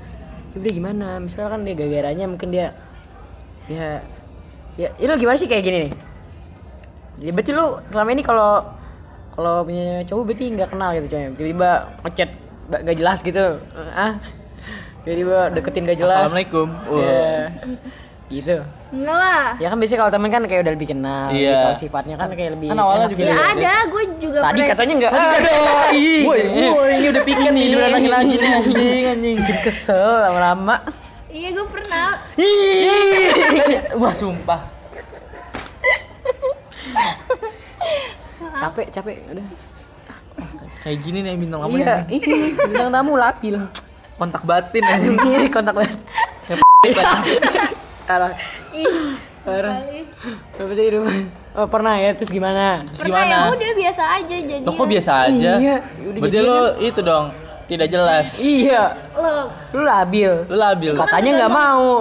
[SPEAKER 2] ya udah gimana misal kan dia gara-garanya mungkin dia ya ya ya lu gimana sih kayak gini nih ya berarti lu selama ini kalau kalau punya cowok berarti nggak kenal gitu cowoknya tiba-tiba ngechat nggak nggak jelas gitu ah tiba-tiba deketin gak jelas
[SPEAKER 4] Assalamualaikum. Wah.
[SPEAKER 2] Iya. gitu
[SPEAKER 1] Enggak lah.
[SPEAKER 2] ya kan biasanya kalau temen kan kayak udah lebih kenal
[SPEAKER 4] Iya.
[SPEAKER 2] lebih tahu sifatnya kan kayak lebih
[SPEAKER 4] Kan
[SPEAKER 2] enak
[SPEAKER 4] awalnya juga
[SPEAKER 1] Ya
[SPEAKER 2] gitu.
[SPEAKER 1] ada, gue juga
[SPEAKER 2] tadi
[SPEAKER 1] pernah.
[SPEAKER 2] katanya nggak ada Iya. Kan
[SPEAKER 4] Woi, woi, ini udah piket nih, udah lagi-lagi nih.
[SPEAKER 2] anjing anjing bikin kesel lama-lama
[SPEAKER 1] Iya, gue pernah.
[SPEAKER 4] Wah, sumpah.
[SPEAKER 2] capek capek udah
[SPEAKER 4] Kayak gini nih bintang kamu
[SPEAKER 2] iya
[SPEAKER 4] nih.
[SPEAKER 2] ih bilang tamu lapi loh
[SPEAKER 4] Kontak batin anjing.
[SPEAKER 2] Ih, kontak banget
[SPEAKER 4] Kayak anjing.
[SPEAKER 2] parah
[SPEAKER 1] Ih,
[SPEAKER 2] parah
[SPEAKER 1] kali.
[SPEAKER 2] berapa tadi rumah oh pernah ya terus gimana
[SPEAKER 4] Terus
[SPEAKER 1] Pernah
[SPEAKER 4] gimana?
[SPEAKER 1] ya udah biasa aja jadi.
[SPEAKER 4] Lo kok biasa aja?
[SPEAKER 2] Iya, udah
[SPEAKER 4] Berarti
[SPEAKER 2] jadian
[SPEAKER 4] lo itu dong, tidak jelas.
[SPEAKER 2] iya
[SPEAKER 1] Loh,
[SPEAKER 2] lu labil
[SPEAKER 4] Lo labil.
[SPEAKER 2] katanya nggak mau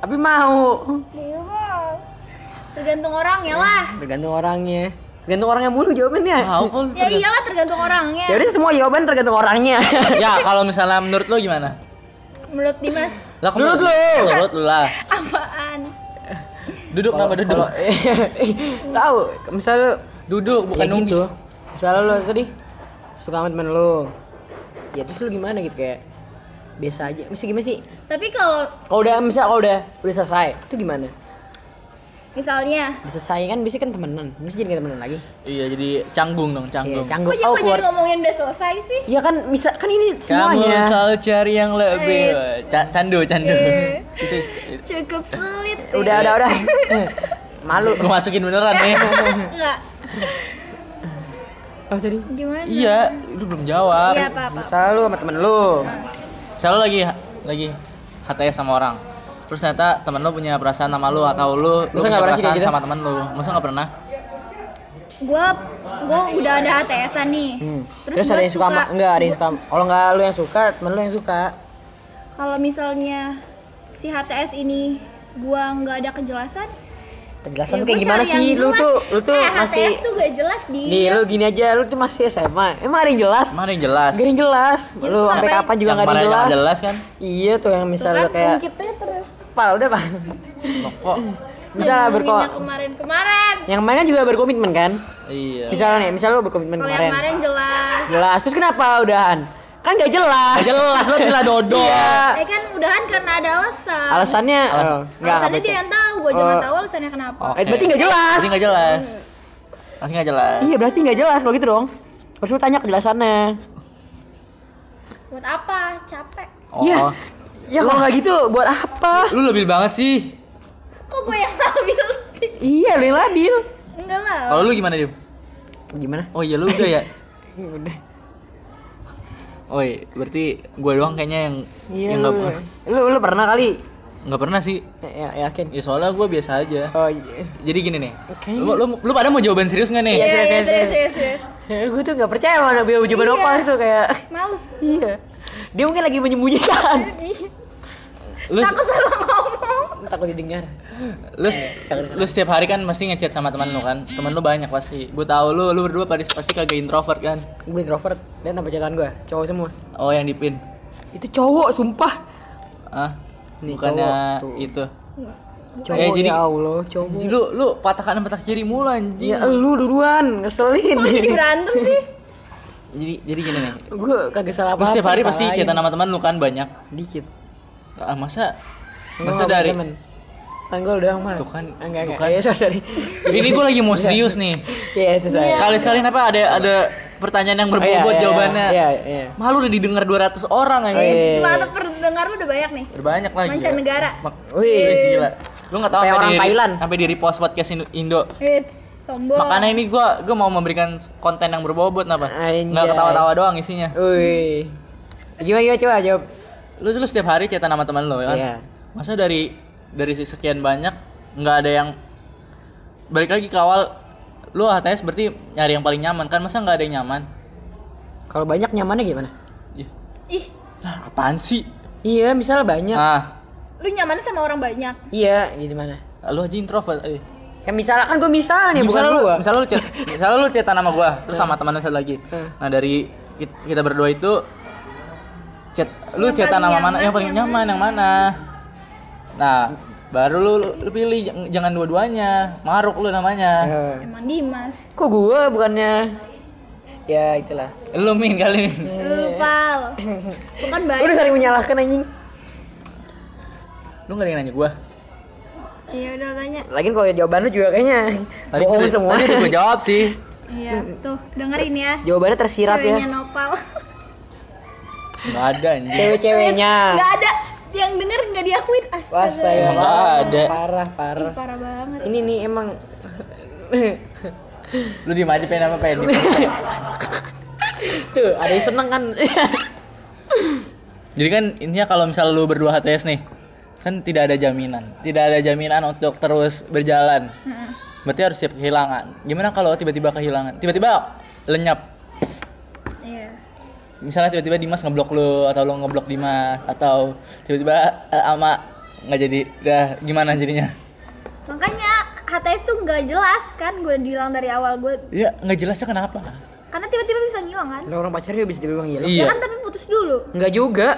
[SPEAKER 2] tapi mau
[SPEAKER 1] tergantung orangnya lah. Ya
[SPEAKER 2] tergantung orangnya tergantung orangnya mulu jawabannya
[SPEAKER 4] Tahu kok. lo
[SPEAKER 1] Ya
[SPEAKER 4] tergantung.
[SPEAKER 1] iyalah tergantung orangnya.
[SPEAKER 2] ya udah semua jawaban tergantung orangnya
[SPEAKER 1] iya.
[SPEAKER 4] Ya, kalau misalnya menurut lo gimana?
[SPEAKER 1] Menurut Dimas
[SPEAKER 4] Lah, kok
[SPEAKER 2] Menurut lo?
[SPEAKER 4] Menurut lo lah.
[SPEAKER 1] apaan?
[SPEAKER 4] Duduk kenapa duduk?
[SPEAKER 2] Kalau- tahu misalnya lu
[SPEAKER 4] Duduk bukan
[SPEAKER 2] bukan ya
[SPEAKER 4] nunggu.
[SPEAKER 2] gitu misalnya lo tadi suka sama temen lo ya terus lo gimana gitu kayak biasa aja mesti gimana sih
[SPEAKER 1] Tapi kalau
[SPEAKER 2] kalau udah misal kalau udah udah selesai itu gimana
[SPEAKER 1] misalnya
[SPEAKER 2] udah selesai kan biasanya kan temenan mesti jadi nggak temenan lagi
[SPEAKER 4] Iya, jadi canggung dong,
[SPEAKER 2] Iya,
[SPEAKER 4] canggung.
[SPEAKER 1] Kok
[SPEAKER 2] canggung
[SPEAKER 1] jadi
[SPEAKER 2] oh
[SPEAKER 1] kok jadi
[SPEAKER 2] keluar
[SPEAKER 1] ngomongin udah selesai sih?
[SPEAKER 2] ya kan bisa kan ini
[SPEAKER 4] Kamu
[SPEAKER 2] semuanya
[SPEAKER 4] selalu cari yang lebih. Ca- candu, candu.
[SPEAKER 1] Iya.
[SPEAKER 4] Itu
[SPEAKER 1] Cukup sulit
[SPEAKER 2] udah udah udah malu
[SPEAKER 4] gue masukin beneran nih.
[SPEAKER 1] Enggak
[SPEAKER 2] oh jadi
[SPEAKER 1] Gimana?
[SPEAKER 4] iya, lu belum jawab.
[SPEAKER 1] Iya apa-apa
[SPEAKER 2] misalnya lu sama temen lu
[SPEAKER 4] Misalnya lu lagi lagi HTS sama orang. Terus ternyata temen lu punya perasaan sama lu atau lu, lu
[SPEAKER 2] Masa
[SPEAKER 4] punya
[SPEAKER 2] nggak pernah sih
[SPEAKER 4] perasaan
[SPEAKER 2] kayak gitu?
[SPEAKER 4] sama temen lu. Masa nggak pernah?
[SPEAKER 1] Gue gua udah ada HTS-an nih
[SPEAKER 2] Hmm.
[SPEAKER 1] Terus
[SPEAKER 2] terus,
[SPEAKER 1] gua
[SPEAKER 2] ada yang suka,
[SPEAKER 1] suka-
[SPEAKER 2] sama- enggak ada yang suka kalau enggak lu yang suka temen lu yang suka
[SPEAKER 1] Kalau misalnya si HTS ini gua nggak ada kejelasan
[SPEAKER 2] penjelasan
[SPEAKER 1] ya
[SPEAKER 2] tuh kayak
[SPEAKER 1] gua
[SPEAKER 2] gimana
[SPEAKER 1] cari yang
[SPEAKER 2] sih lu
[SPEAKER 1] jelas.
[SPEAKER 2] tuh lu tuh
[SPEAKER 1] eh,
[SPEAKER 2] masih
[SPEAKER 1] HTS tuh gak jelas di
[SPEAKER 2] Nih lu gini aja, lu tuh masih SMA. Emang ada yang jelas?
[SPEAKER 4] Mana yang jelas?
[SPEAKER 2] Gak ada yang jelas.
[SPEAKER 1] Ya,
[SPEAKER 2] Lu
[SPEAKER 1] terus
[SPEAKER 2] sampai
[SPEAKER 1] ngapain?
[SPEAKER 2] kapan juga
[SPEAKER 4] yang
[SPEAKER 2] gak ada
[SPEAKER 4] kemarin
[SPEAKER 2] yang jelas.
[SPEAKER 4] nggak jelas kan?
[SPEAKER 2] Iya tuh yang
[SPEAKER 1] Tuh kan,
[SPEAKER 2] misalnya kayak
[SPEAKER 1] ungkitnya terus
[SPEAKER 2] pal udah pak.
[SPEAKER 4] Kok?
[SPEAKER 2] Bisa
[SPEAKER 1] Ngomongin
[SPEAKER 2] berko.
[SPEAKER 1] yang kemarin-kemarin
[SPEAKER 2] Yang mana juga berkomitmen kan?
[SPEAKER 4] Iya.
[SPEAKER 2] Misalnya nih, misalnya lu berkomitmen
[SPEAKER 1] Kalau yang
[SPEAKER 2] kemarin.
[SPEAKER 1] kemarin jelas
[SPEAKER 2] Jelas. Terus kenapa udahan? Kan gak jelas.
[SPEAKER 4] Nggak jelas lu tidak dodol.
[SPEAKER 2] Iya.
[SPEAKER 1] Eh kan udahan karena ada alasan
[SPEAKER 2] Alasannya
[SPEAKER 4] Alasan-
[SPEAKER 2] oh, nggak,
[SPEAKER 1] Alasannya
[SPEAKER 2] nggak
[SPEAKER 1] dia
[SPEAKER 2] baca.
[SPEAKER 1] yang tahu, gua juga
[SPEAKER 2] Oh.
[SPEAKER 1] nggak tahu alasannya kenapa.
[SPEAKER 4] Oh.
[SPEAKER 2] Eh, berarti gak jelas.
[SPEAKER 4] Ini nggak jelas. Masih nggak jelas.
[SPEAKER 2] Iya, berarti gak jelas kalau gitu dong. Harus lu tanya kejelasannya.
[SPEAKER 1] buat apa capek
[SPEAKER 4] Oh,
[SPEAKER 2] Ya, ya kalau nggak gitu buat apa?
[SPEAKER 4] lu lebih banget sih.
[SPEAKER 1] kok gue yang labil sih
[SPEAKER 2] Iya, lu yang ladil.
[SPEAKER 1] enggak lah
[SPEAKER 2] Oh,
[SPEAKER 4] Kalau lu gimana, Dim?
[SPEAKER 2] Gimana?
[SPEAKER 4] Oh iya lu udah ya.
[SPEAKER 2] Udah.
[SPEAKER 4] Oh iya, berarti gua doang kayaknya yang
[SPEAKER 2] Iya,
[SPEAKER 4] yang
[SPEAKER 2] lu,
[SPEAKER 4] Ya, nggak
[SPEAKER 2] lu, lu pernah kali?
[SPEAKER 4] nggak pernah sih.
[SPEAKER 2] Ya, yakin.
[SPEAKER 4] Ya soalnya gua biasa aja.
[SPEAKER 2] Oh iya.
[SPEAKER 4] Jadi gini nih.
[SPEAKER 2] Oke.
[SPEAKER 4] Lu, lu, lu pada mau jawaban serius nggak nih?
[SPEAKER 2] Iya, serius,
[SPEAKER 1] iya,
[SPEAKER 2] serius,
[SPEAKER 1] serius,
[SPEAKER 2] serius.
[SPEAKER 1] serius, serius.
[SPEAKER 2] Ya, gue tuh nggak percaya sama gue coba
[SPEAKER 1] Iya.
[SPEAKER 2] nopal itu kayak
[SPEAKER 1] males
[SPEAKER 2] iya. Dia mungkin lagi menyembunyikan.
[SPEAKER 4] Lu
[SPEAKER 1] takut salah ngomong
[SPEAKER 2] Takut didengar.
[SPEAKER 4] lu,
[SPEAKER 2] Eh,
[SPEAKER 4] lu setiap hari kan pasti ngechat sama teman lu kan. Teman lu banyak pasti. Gua tahu lu lu berdua pasti pasti kagak introvert kan.
[SPEAKER 2] Gue introvert dan apa catatan gue? Cowok semua.
[SPEAKER 4] Oh yang dipin.
[SPEAKER 2] Itu cowok, sumpah.
[SPEAKER 4] Ah.
[SPEAKER 2] Nih,
[SPEAKER 4] Bukannya
[SPEAKER 2] cowok tuh.
[SPEAKER 4] itu.
[SPEAKER 2] Cowok
[SPEAKER 4] Eh, jadi-
[SPEAKER 2] ya Allah, cowok.
[SPEAKER 4] Anjing, Lu lu patah kanan patah kiri mulu anjing.
[SPEAKER 2] Ya lu duluan, ngeselin.
[SPEAKER 1] Kok jadi berantem sih
[SPEAKER 4] Jadi jadi gini nih.
[SPEAKER 2] gue kagak salah
[SPEAKER 4] Lu
[SPEAKER 2] apa-apa.
[SPEAKER 4] setiap hari pasti
[SPEAKER 2] salahin.
[SPEAKER 4] chatan sama teman lu kan banyak.
[SPEAKER 2] dikit.
[SPEAKER 4] Ah, masa
[SPEAKER 2] Gua
[SPEAKER 4] masa
[SPEAKER 2] nggak
[SPEAKER 4] dari
[SPEAKER 2] punya temen. Kan gue udah mah.
[SPEAKER 4] Tuh kan,
[SPEAKER 2] enggak
[SPEAKER 4] tuh
[SPEAKER 2] enggak.
[SPEAKER 4] kan.
[SPEAKER 2] Ya sorry, sorry.
[SPEAKER 4] ini gue lagi
[SPEAKER 2] Iya.
[SPEAKER 4] mau serius nih
[SPEAKER 2] Ya susah. ya.
[SPEAKER 4] sekali sekali kenapa ada ada pertanyaan yang
[SPEAKER 2] Oh, iya,
[SPEAKER 4] berbobot
[SPEAKER 2] iya,
[SPEAKER 4] jawabannya
[SPEAKER 2] Iya, iya.
[SPEAKER 4] malu udah didengar 200 orang aja
[SPEAKER 2] Oh, iya.
[SPEAKER 1] selama pendengar lu udah banyak nih
[SPEAKER 4] banyak lagi
[SPEAKER 1] Mancanegara.
[SPEAKER 2] Wih.
[SPEAKER 4] gila lu nggak
[SPEAKER 2] Iya. Kayak
[SPEAKER 4] tahu sampai
[SPEAKER 2] orang
[SPEAKER 4] di
[SPEAKER 2] Thailand.
[SPEAKER 4] sampai di repost podcast Indo- Indo
[SPEAKER 1] Wits, sombong
[SPEAKER 4] makanya ini gue gue mau memberikan konten yang berbobot apa
[SPEAKER 2] Anjay.
[SPEAKER 4] nggak ketawa-tawa doang isinya
[SPEAKER 2] Wih. Gimana gimana coba jawab.
[SPEAKER 4] lu lu setiap hari cerita nama teman lo ya Iya kan
[SPEAKER 2] Iya.
[SPEAKER 4] masa dari dari sekian banyak nggak ada yang balik lagi ke awal lu HTS berarti nyari yang paling nyaman kan masa nggak ada yang nyaman
[SPEAKER 2] Kalau banyak nyamannya gimana?
[SPEAKER 4] Ih,
[SPEAKER 1] ih
[SPEAKER 4] lah apaan sih
[SPEAKER 2] Iya, misalnya banyak.
[SPEAKER 4] ah
[SPEAKER 1] lu nyaman sama orang banyak
[SPEAKER 2] Iya, gitu mana?
[SPEAKER 4] lu aja introvert eh.
[SPEAKER 2] Kan misalnya kan gue misal nih, bukan
[SPEAKER 4] misalnya lu
[SPEAKER 2] gua. Eh.
[SPEAKER 4] misalnya lu chat misalnya lu chatan sama gua terus sama teman lu satu lagi
[SPEAKER 2] Hmm.
[SPEAKER 4] nah dari kit- kita berdua itu chat lu
[SPEAKER 1] Yang
[SPEAKER 4] chatan
[SPEAKER 1] paling
[SPEAKER 4] sama mana
[SPEAKER 1] nyaman,
[SPEAKER 4] yang paling
[SPEAKER 1] yang
[SPEAKER 4] nyaman yang mana nah baru lu, lu pilih jang- jangan dua-duanya maruk lu namanya
[SPEAKER 2] Eh,
[SPEAKER 1] emang Dimas
[SPEAKER 2] Kok gue bukannya Ya itulah.
[SPEAKER 4] lu min kali Min.
[SPEAKER 1] lu pal bukan
[SPEAKER 2] Lu
[SPEAKER 1] baik
[SPEAKER 2] Iya. Udah saling menyalahkan anjing.
[SPEAKER 4] lu nggak ada yang nanya gua
[SPEAKER 1] iya udah tanya
[SPEAKER 2] Lagian kalau jawaban lu juga kayaknya bohong
[SPEAKER 4] sudah-
[SPEAKER 2] semua.
[SPEAKER 4] tadi udah gua jawab sih
[SPEAKER 1] iya tuh dengerin ya
[SPEAKER 2] Jawabannya tersirat
[SPEAKER 1] ceweknya
[SPEAKER 2] ya.
[SPEAKER 1] nopal
[SPEAKER 4] nggak ada anjing
[SPEAKER 2] Cewek-ceweknya.
[SPEAKER 1] nggak ada yang denger nggak diakuin astaga
[SPEAKER 2] Wah, saya
[SPEAKER 4] Nggak ada.
[SPEAKER 2] Parah, parah.
[SPEAKER 1] Ih, parah banget
[SPEAKER 2] Ini nih emang
[SPEAKER 4] lu diem aja pengen apa pengen
[SPEAKER 2] tuh ada yang seneng kan.
[SPEAKER 4] Jadi kan intinya kalau misalnya lu berdua HTS nih, kan tidak ada jaminan, tidak ada jaminan untuk terus berjalan.
[SPEAKER 1] Heeh.
[SPEAKER 4] Berarti harus siap kehilangan. Gimana kalau tiba-tiba kehilangan? Tiba-tiba lenyap.
[SPEAKER 1] iya
[SPEAKER 4] Misalnya tiba-tiba Dimas ngeblok lu atau lu ngeblok Dimas atau tiba-tiba eh, ama nggak jadi. Dah gimana jadinya?
[SPEAKER 1] makanya HTS tuh nggak jelas kan gue bilang dari awal gue
[SPEAKER 4] Ya nggak jelasnya kenapa?
[SPEAKER 1] karena tiba-tiba bisa ngilang kan
[SPEAKER 2] Lah orang pacarnya bisa dibilang hilang.
[SPEAKER 1] ya
[SPEAKER 4] Iya.
[SPEAKER 1] kan tapi putus dulu
[SPEAKER 2] Enggak juga.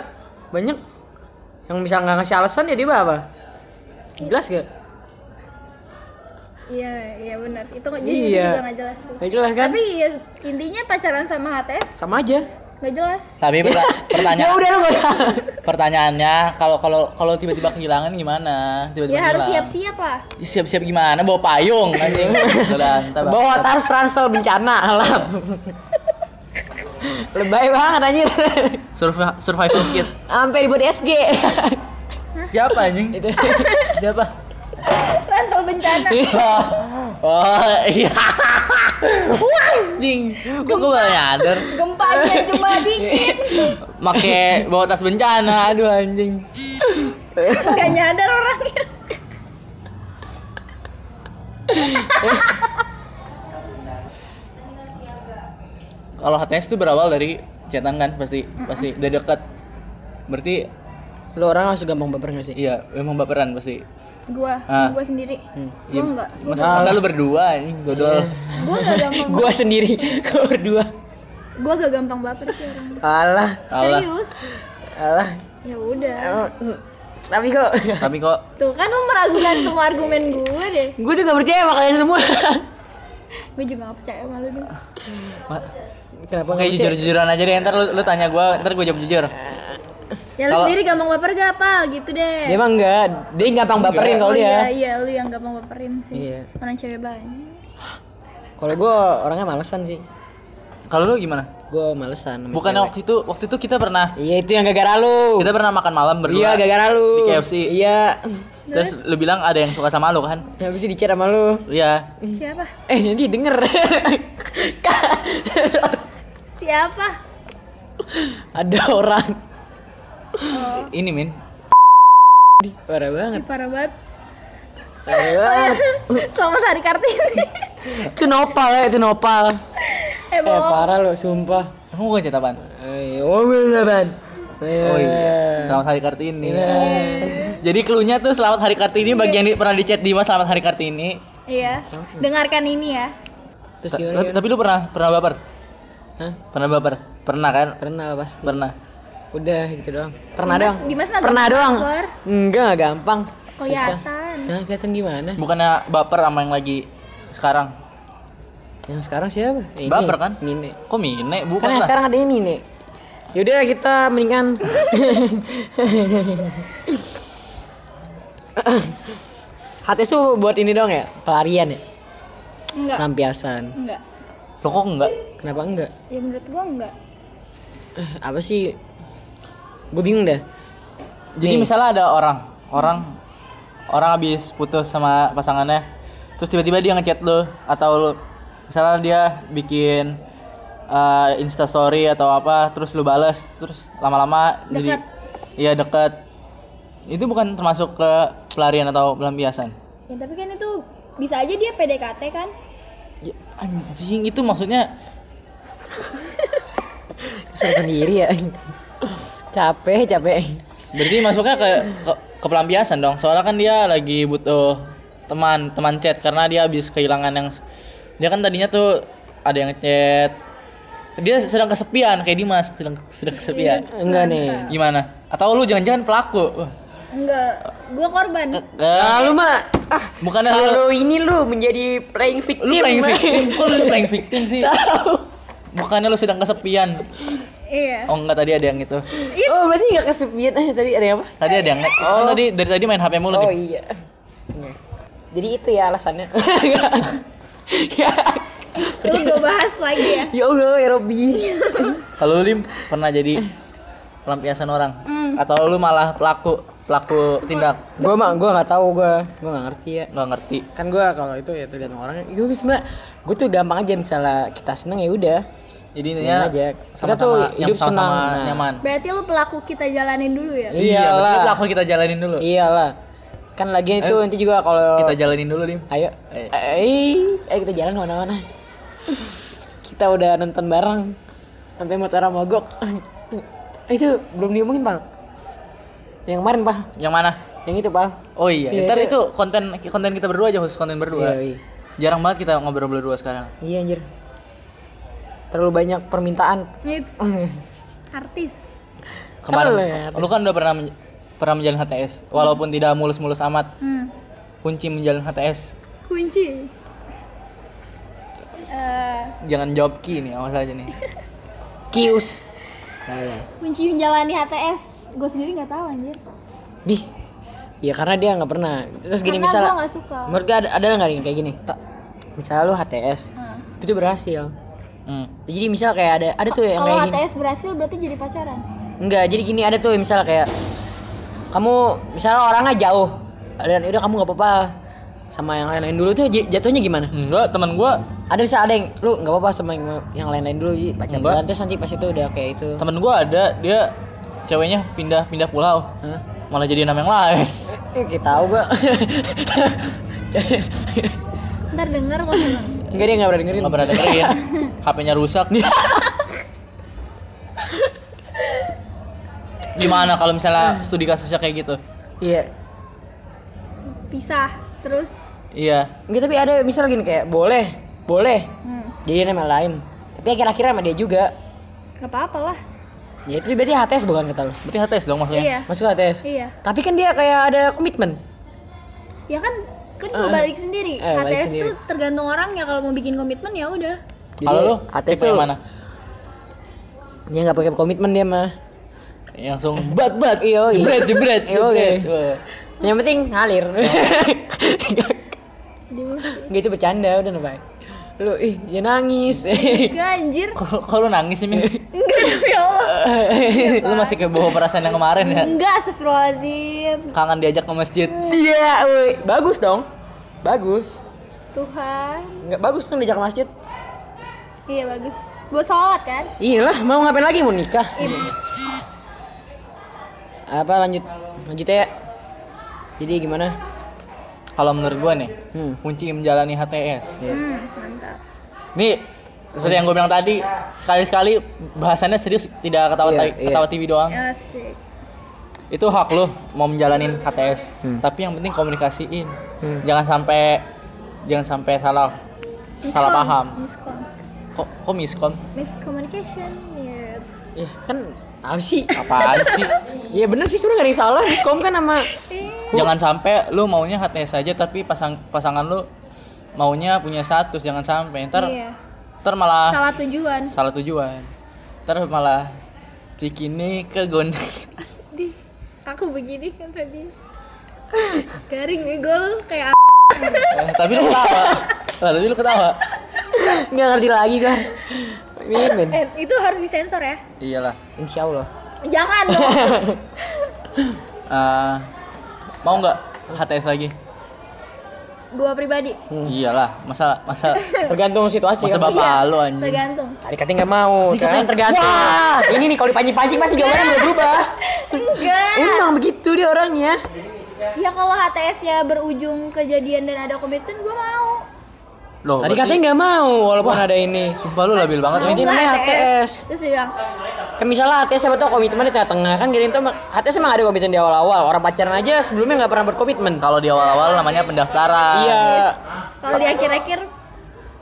[SPEAKER 2] Banyak yang bisa nggak ngasih alasan ya dia apa? Jelas gak?
[SPEAKER 1] iya iya benar itu nggak jadi
[SPEAKER 2] Iya.
[SPEAKER 1] juga nggak jelas sih
[SPEAKER 2] Gak jelas kan?
[SPEAKER 1] tapi ya, intinya pacaran sama HTS
[SPEAKER 2] Sama aja.
[SPEAKER 1] nggak jelas
[SPEAKER 4] Tapi perta-
[SPEAKER 2] Ya
[SPEAKER 4] pertanyaan
[SPEAKER 2] udah lu gak usah.
[SPEAKER 4] pertanyaannya kalau kalau kalau tiba-tiba kehilangan gimana? Tiba-tiba
[SPEAKER 1] ya harus
[SPEAKER 4] hilang.
[SPEAKER 1] siap-siap lah
[SPEAKER 4] Ih, siap-siap gimana bawa payung anjing Udah, ntar-
[SPEAKER 2] Bawa tas ransel bencana alam. Lebay banget anjir.
[SPEAKER 4] Survi- survival kit
[SPEAKER 2] Sampai dibuat SG.
[SPEAKER 4] siapa anjing siapa
[SPEAKER 1] ransel bencana
[SPEAKER 4] oh, oh iya Wah, anjing kok gue malah nyadar
[SPEAKER 1] gempanya cuma dikit
[SPEAKER 4] make bawa tas bencana aduh anjing
[SPEAKER 1] nggak nyadar orangnya
[SPEAKER 4] kalau HTS itu berawal dari chatan kan pasti pasti udah deket berarti
[SPEAKER 2] Lu orang langsung gampang baper gak sih?
[SPEAKER 4] iya emang baperan pasti
[SPEAKER 1] gua
[SPEAKER 4] Ah.
[SPEAKER 1] gua sendiri
[SPEAKER 2] Hmm,
[SPEAKER 1] gua Iya.
[SPEAKER 4] Iya,
[SPEAKER 1] enggak
[SPEAKER 4] masa, masa lu berdua anjing dodol
[SPEAKER 1] gua gak gampang
[SPEAKER 2] Gua sendiri, gua berdua.
[SPEAKER 1] gua gak gampang baper sih orang
[SPEAKER 2] Alah,
[SPEAKER 4] Allah
[SPEAKER 1] serius
[SPEAKER 2] alah.
[SPEAKER 1] ya udah
[SPEAKER 2] Oh, hmm. Tapi kok
[SPEAKER 4] tapi kok
[SPEAKER 1] tuh kan lu meragukan semua argumen gue deh
[SPEAKER 2] gue juga percaya sama kalian semua.
[SPEAKER 1] gue juga gak percaya sama lu nih
[SPEAKER 4] ma-
[SPEAKER 2] Kenapa
[SPEAKER 4] Oke jujur-jujuran aja deh, ntar lu, lu tanya gua ntar gue jawab jujur
[SPEAKER 1] ya lu
[SPEAKER 4] Kalau-
[SPEAKER 1] sendiri gampang baper gak apa gitu deh
[SPEAKER 2] Dia emang enggak, dia gampang baperin
[SPEAKER 1] Oh
[SPEAKER 2] Iya, kalau
[SPEAKER 1] iya,
[SPEAKER 2] dia.
[SPEAKER 1] iya, lu yang gampang baperin sih.
[SPEAKER 2] Iya.
[SPEAKER 1] Orang cewek banyak.
[SPEAKER 2] Kalau gue orangnya malesan sih.
[SPEAKER 4] Kalau lu gimana?
[SPEAKER 2] gue malesan sama
[SPEAKER 4] Bukannya
[SPEAKER 2] cewek.
[SPEAKER 4] waktu itu waktu itu kita pernah
[SPEAKER 2] iya itu yang gara-gara lu
[SPEAKER 4] kita pernah makan malam
[SPEAKER 2] iya
[SPEAKER 4] berdua.
[SPEAKER 2] gara-gara lu
[SPEAKER 4] Di KFC.
[SPEAKER 2] iya
[SPEAKER 4] Terus lu bilang ada yang suka sama lu kan?
[SPEAKER 2] habis itu dicer sama lu
[SPEAKER 4] Iya.
[SPEAKER 1] Siapa?
[SPEAKER 2] eh nanti denger
[SPEAKER 1] Siapa?
[SPEAKER 2] ada orang
[SPEAKER 4] Ini Min.
[SPEAKER 2] parah
[SPEAKER 1] Ih, parah
[SPEAKER 2] banget
[SPEAKER 1] banget.
[SPEAKER 2] parah banget
[SPEAKER 1] Selamat Hari Kartini.
[SPEAKER 2] itu nopal ya itu nopal
[SPEAKER 1] eh,
[SPEAKER 2] eh
[SPEAKER 1] bohong.
[SPEAKER 2] parah lu sumpah
[SPEAKER 4] Emang bukan cerita apaan?
[SPEAKER 2] Eh, oh iya ban
[SPEAKER 4] Oh iya. Selamat Hari Kartini.
[SPEAKER 2] Iya. Eh.
[SPEAKER 4] Jadi cluenya tuh Selamat Hari Kartini bagi yang di- pernah di chat Dimas Selamat Hari Kartini.
[SPEAKER 1] Iya. Dengarkan ini ya.
[SPEAKER 2] terus
[SPEAKER 4] Ta-
[SPEAKER 2] gimana,
[SPEAKER 4] lu- Tapi lu pernah pernah baper?
[SPEAKER 2] Hah?
[SPEAKER 4] Pernah baper? Pernah kan?
[SPEAKER 2] pernah pas
[SPEAKER 4] Pernah.
[SPEAKER 2] udah gitu doang pernah
[SPEAKER 1] Dimas-
[SPEAKER 2] doang
[SPEAKER 1] Dimas nggak
[SPEAKER 2] pernah
[SPEAKER 1] gampang
[SPEAKER 2] doang
[SPEAKER 1] baper.
[SPEAKER 2] enggak nggak gampang susah
[SPEAKER 1] Kelihatan.
[SPEAKER 2] nah kelihatan gimana
[SPEAKER 4] Bukannya baper sama yang lagi sekarang.
[SPEAKER 2] yang sekarang siapa Ini,
[SPEAKER 4] Baper kan?
[SPEAKER 2] mine
[SPEAKER 4] Kok
[SPEAKER 2] kan
[SPEAKER 4] Mine? Bukan
[SPEAKER 2] yang
[SPEAKER 4] lah.
[SPEAKER 2] sekarang adanya mine yaudah kita mendingan HTS tuh buat ini dong ya pelarian ya
[SPEAKER 1] Enggak.
[SPEAKER 2] Nah. pelampiasan
[SPEAKER 1] Enggak.
[SPEAKER 4] Lo kok enggak?
[SPEAKER 2] kenapa enggak
[SPEAKER 1] Ya menurut gua enggak.
[SPEAKER 2] Eh, apa sih gue bingung dah
[SPEAKER 4] Jadi misalnya ada orang, orang orang habis putus sama pasangannya, terus tiba-tiba dia ngechat lu atau lu misalnya dia bikin eh, Insta story atau apa, terus lu bales, terus lama-lama jadi
[SPEAKER 1] Deket.
[SPEAKER 4] iya deket. Itu bukan termasuk ke pelarian atau pelampiasan.
[SPEAKER 1] Ya tapi kan itu bisa aja dia PDKT kan?
[SPEAKER 4] Ya, anjing itu maksudnya
[SPEAKER 2] saya sendiri ya capek capek
[SPEAKER 4] berarti masuknya ke, ke ke pelampiasan dong. Soalnya kan dia lagi butuh teman teman chat karena dia habis kehilangan yang dia kan tadinya tuh ada yang chat dia sedang kesepian kayak Dimas sedang sedang kesepian
[SPEAKER 2] enggak nih
[SPEAKER 4] gimana atau lu jangan-jangan pelaku Wah,
[SPEAKER 1] Enggak. Gua korban.
[SPEAKER 4] eh,
[SPEAKER 2] Ah, lu mah ah,
[SPEAKER 4] Bukannya
[SPEAKER 2] selalu ini lu menjadi playing victim.
[SPEAKER 4] lu playing
[SPEAKER 2] mah.
[SPEAKER 4] victim kok lu playing victim sih
[SPEAKER 2] Tahu.
[SPEAKER 4] bukannya lu sedang kesepian
[SPEAKER 1] Iya.
[SPEAKER 4] oh enggak tadi ada yang itu
[SPEAKER 2] Oh, berarti enggak kesepian eh, tadi ada apa?
[SPEAKER 4] tadi ada yang kan tadi dari tadi main HP mulu
[SPEAKER 2] Oh
[SPEAKER 4] nih
[SPEAKER 2] iya. Enggak. Jadi itu ya alasannya. Enggak. ya. Oh,
[SPEAKER 1] Lu
[SPEAKER 2] iya.
[SPEAKER 1] gua bahas lagi ya.
[SPEAKER 2] ya Allah, ya Robi.
[SPEAKER 4] kalau lu, Lim pernah jadi pelampiasan orang
[SPEAKER 1] Mm.
[SPEAKER 4] atau lu malah pelaku pelaku tindak
[SPEAKER 2] gua mah gua enggak tahu gua. Gua enggak ngerti ya.
[SPEAKER 4] nggak ngerti
[SPEAKER 2] Kan gua kalau itu ya tergantung orangnya. Gue sebenarnya gua tuh gampang aja misalnya kita seneng ya udah.
[SPEAKER 4] jadi intinya
[SPEAKER 2] Ini aja.
[SPEAKER 4] sama-sama
[SPEAKER 2] Iya, Kita tuh hidup
[SPEAKER 4] sama -sama
[SPEAKER 2] senang. Nah.
[SPEAKER 4] nyaman Iya,
[SPEAKER 1] Berarti lu pelaku kita jalanin dulu ya.
[SPEAKER 4] berarti
[SPEAKER 2] Iyalah.
[SPEAKER 4] pelaku kita jalanin dulu
[SPEAKER 2] Iya, Iyalah. Kan lagi itu nanti juga kalau
[SPEAKER 4] kita jalanin dulu lim
[SPEAKER 2] Ayo,
[SPEAKER 4] Ayo.
[SPEAKER 2] eh, ayo kita jalan kemana-mana. kita udah nonton bareng sampai mata orang mogok. Eh, itu belum diomongin pal. Yang kemarin pal,
[SPEAKER 4] yang mana
[SPEAKER 2] yang itu pal.
[SPEAKER 4] oh iya,
[SPEAKER 2] Iya,
[SPEAKER 4] ntar
[SPEAKER 2] itu-
[SPEAKER 4] itu konten konten kita berdua aja khusus konten berdua
[SPEAKER 2] Iya, iya.
[SPEAKER 4] jarang banget kita ngobrol berdua sekarang
[SPEAKER 2] Iya anjir. Terlalu banyak permintaan.
[SPEAKER 1] Nih, artis.
[SPEAKER 4] kemarin
[SPEAKER 2] Keren.
[SPEAKER 4] lu kan udah pernah men- pernah menjalin HTS walaupun tidak mulus-mulus amat
[SPEAKER 1] Hmm.
[SPEAKER 4] kunci menjalin HTS
[SPEAKER 1] Kunci. Eh,
[SPEAKER 4] jangan jawab ki nih awas aja nih
[SPEAKER 2] Kius. Salah.
[SPEAKER 1] kunci menjalani HTS gue sendiri nggak tahu anjir
[SPEAKER 2] Bih. Ya karena dia nggak pernah. Terus
[SPEAKER 1] karena
[SPEAKER 2] gini
[SPEAKER 1] gue
[SPEAKER 2] misalnya,
[SPEAKER 1] nggak suka
[SPEAKER 2] menurut gue ada ada nggak nih kayak gini? Pak, misalnya lu HTS,
[SPEAKER 1] Nah.
[SPEAKER 2] itu berhasil.
[SPEAKER 4] hmm.
[SPEAKER 2] Jadi misal kayak ada ada tuh yang
[SPEAKER 1] kalau
[SPEAKER 2] kayak gini.
[SPEAKER 1] HTS berhasil berarti jadi pacaran
[SPEAKER 2] Enggak, jadi gini ada tuh misalnya kayak kamu misalnya orangnya jauh dan udah kamu nggak apa-apa sama yang lain-lain dulu tuh j- jatuhnya gimana?
[SPEAKER 4] enggak teman gua
[SPEAKER 2] Ada bisa ada yang lu nggak apa-apa sama yang, yang lain-lain dulu jadi pacar
[SPEAKER 4] Enggak.
[SPEAKER 2] duluan, terus nanti pas itu udah kayak itu.
[SPEAKER 4] teman gua ada dia ceweknya pindah pindah pulau
[SPEAKER 2] Hah?
[SPEAKER 4] malah jadi nama yang lain
[SPEAKER 2] Eh, kayak tahu gua.
[SPEAKER 1] ntar denger kalau seneng.
[SPEAKER 2] Enggak dia nggak pernah dengerin.
[SPEAKER 4] nggak pernah dengerin HP-nya rusak gimana kalau misalnya studi kasusnya kayak gitu
[SPEAKER 2] Iya.
[SPEAKER 1] pisah terus
[SPEAKER 4] iya
[SPEAKER 2] Enggak tapi ada misal gini kayak boleh, boleh.
[SPEAKER 1] hmm,
[SPEAKER 2] Jadi nama lain. Tapi akhir-akhirnya sama dia juga.
[SPEAKER 1] gak apa apa lah
[SPEAKER 2] Ya itu berarti HTS bukan kata lu.
[SPEAKER 4] berarti HTS dong maksudnya
[SPEAKER 1] iya
[SPEAKER 2] Masuk HTS.
[SPEAKER 1] iya
[SPEAKER 2] Tapi kan dia kayak ada komitmen.
[SPEAKER 1] ya kan kan
[SPEAKER 2] Eh,
[SPEAKER 1] gue balik sendiri
[SPEAKER 2] eh, balik
[SPEAKER 1] HTS
[SPEAKER 2] sendiri.
[SPEAKER 1] tuh tergantung orangnya kalau mau bikin komitmen ya udah
[SPEAKER 2] Jadi
[SPEAKER 4] kalau lu
[SPEAKER 2] HTS
[SPEAKER 4] tipe yang
[SPEAKER 2] tuh-
[SPEAKER 4] mana
[SPEAKER 2] Dia nggak pakai komitmen dia mah.
[SPEAKER 4] yang langsung
[SPEAKER 2] Bat bat. Iya.
[SPEAKER 4] jebret jebret
[SPEAKER 2] Iya, oke.
[SPEAKER 4] jebret Wah.
[SPEAKER 2] Yang penting ngalir.
[SPEAKER 1] Dia-
[SPEAKER 2] Gak itu bercanda udah nih, Bay. Lu lu ih dia nangis
[SPEAKER 1] Gak anjir.
[SPEAKER 4] Kok kok lu nangis sih, Min?
[SPEAKER 1] Enggak demi Allah.
[SPEAKER 2] Iya.
[SPEAKER 4] lu masih ke bawah perasaan yang kemarin ya?
[SPEAKER 1] Enggak, astagfirullahaladzim.
[SPEAKER 4] Kangen diajak ke masjid.
[SPEAKER 2] Iya, woi. Bagus dong. Bagus.
[SPEAKER 1] Tuhan.
[SPEAKER 2] Enggak bagus kan diajak ke masjid.
[SPEAKER 1] Iya bagus. Buat sholat kan?
[SPEAKER 2] Iyalah, mau ngapain lagi mau nikah?
[SPEAKER 1] Iya.
[SPEAKER 2] Apa lanjut? Lanjutnya ya. Jadi gimana?
[SPEAKER 4] Kalau menurut gua nih,
[SPEAKER 2] Hmm.
[SPEAKER 4] kunci menjalani
[SPEAKER 2] Iya.
[SPEAKER 4] HTS.
[SPEAKER 1] Hmm, mantap.
[SPEAKER 4] Nih, seperti yang gue bilang tadi, sekali-sekali bahasannya serius tidak ketawa
[SPEAKER 2] Iya, iya.
[SPEAKER 4] ketawa TV doang.
[SPEAKER 1] Asik.
[SPEAKER 4] Itu hak lo mau menjalanin HTS,
[SPEAKER 2] Hmm.
[SPEAKER 4] tapi yang penting komunikasiin.
[SPEAKER 2] Hmm.
[SPEAKER 4] Jangan sampai jangan sampai salah salah
[SPEAKER 1] Miscom,
[SPEAKER 4] paham.
[SPEAKER 1] Miscom.
[SPEAKER 4] Kok kok miskom?
[SPEAKER 1] Miscommunication. Iya.
[SPEAKER 2] Ya kan apa sih?
[SPEAKER 4] Apaan sih?
[SPEAKER 2] Ya bener sih sebenarnya nggak ada yang salah miskom kan sama
[SPEAKER 4] Jangan sampai lu maunya HTS aja tapi pasang pasangan lu maunya punya status, jangan sampai ntar
[SPEAKER 1] Iya.
[SPEAKER 2] ah.
[SPEAKER 4] ntar malah
[SPEAKER 1] Salah tujuan.
[SPEAKER 4] salah tujuan ntar malah cikini ke gondang
[SPEAKER 1] Di, aku begini kan tadi. Garing bego lu kayak
[SPEAKER 4] Eh, tapi lu ketawa Lah, tapi lu ketawa
[SPEAKER 2] nggak ngerti lagi kan. Mimin.
[SPEAKER 1] eh, itu harus disensor ya.
[SPEAKER 4] iyalah
[SPEAKER 2] Insya Allah.
[SPEAKER 1] Jangan dong.
[SPEAKER 4] Eh, mau nggak HTS lagi
[SPEAKER 1] Gua pribadi
[SPEAKER 2] Hmm.
[SPEAKER 4] iyalah masa masa
[SPEAKER 2] Tergantung situasi
[SPEAKER 4] masa
[SPEAKER 2] kan.
[SPEAKER 4] bapak lu anjing
[SPEAKER 1] tergantung.
[SPEAKER 2] Tadi katanya nggak mau,
[SPEAKER 4] Tadi katanya
[SPEAKER 2] kan? tergantung. Wah, ini nih kalau dipancing-pancing pasti jawabannya udah berubah.
[SPEAKER 1] Enggak.
[SPEAKER 2] Emang begitu dia orangnya.
[SPEAKER 1] Ya kalau HTS ya berujung kejadian dan ada komitmen gua mau.
[SPEAKER 4] Loh,
[SPEAKER 2] Tadi
[SPEAKER 4] berarti-
[SPEAKER 2] katanya nggak mau walaupun ada ini.
[SPEAKER 4] sumpah lu labil banget
[SPEAKER 1] Mau
[SPEAKER 2] ini
[SPEAKER 4] ini
[SPEAKER 1] nggak
[SPEAKER 2] namanya HTS.
[SPEAKER 1] Terus dia bilang,
[SPEAKER 2] Kayak Kan misalnya HTS siapa tau komitmen di tengah-tengah kan gini tuh HTS emang ada komitmen di awal-awal. Orang pacaran aja sebelumnya nggak pernah berkomitmen.
[SPEAKER 4] kalau di awal-awal namanya pendaftaran
[SPEAKER 2] Iya.
[SPEAKER 1] kalau di akhir-akhir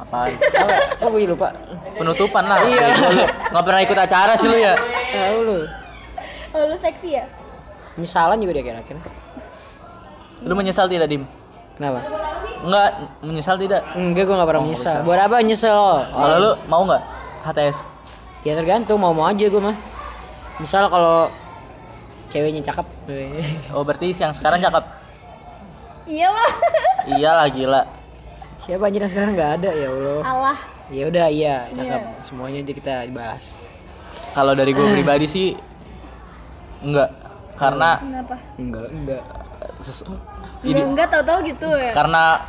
[SPEAKER 4] apaan
[SPEAKER 2] Apa? Kok gue Oh, lupa?
[SPEAKER 4] penutupan lah
[SPEAKER 2] Iya.
[SPEAKER 4] Lu nggak pernah ikut acara sih lu ya
[SPEAKER 2] Tahu lu.
[SPEAKER 1] oh, lu seksi ya?
[SPEAKER 2] Penyesalan juga dia akhir-akhir.
[SPEAKER 4] lu menyesal tidak dim
[SPEAKER 2] Kenapa?
[SPEAKER 4] nggak menyesal tidak
[SPEAKER 2] Enggak, gue nggak pernah
[SPEAKER 4] Oh,
[SPEAKER 2] menyesal.
[SPEAKER 4] bisa.
[SPEAKER 2] Buat apa nyesel?
[SPEAKER 4] kalau lu mau nggak HTS
[SPEAKER 2] Ya tergantung mau-mau aja gue mah. Misal kalau ceweknya cakep.
[SPEAKER 4] oh berarti yang sekarang cakep
[SPEAKER 1] Iya lah.
[SPEAKER 4] iyalah gila
[SPEAKER 2] Siapa anjir yang sekarang nggak ada ya Allah.
[SPEAKER 1] Allah.
[SPEAKER 2] Ya udah iya, cakep.
[SPEAKER 1] Iya.
[SPEAKER 2] Semuanya aja kita bahas.
[SPEAKER 4] Kalau dari gue pribadi sih enggak karena
[SPEAKER 1] Kenapa?
[SPEAKER 2] Enggak, enggak. Iya.
[SPEAKER 4] sesu-
[SPEAKER 1] Enggak,
[SPEAKER 4] ide-
[SPEAKER 1] enggak tahu-tahu gitu ya.
[SPEAKER 4] karena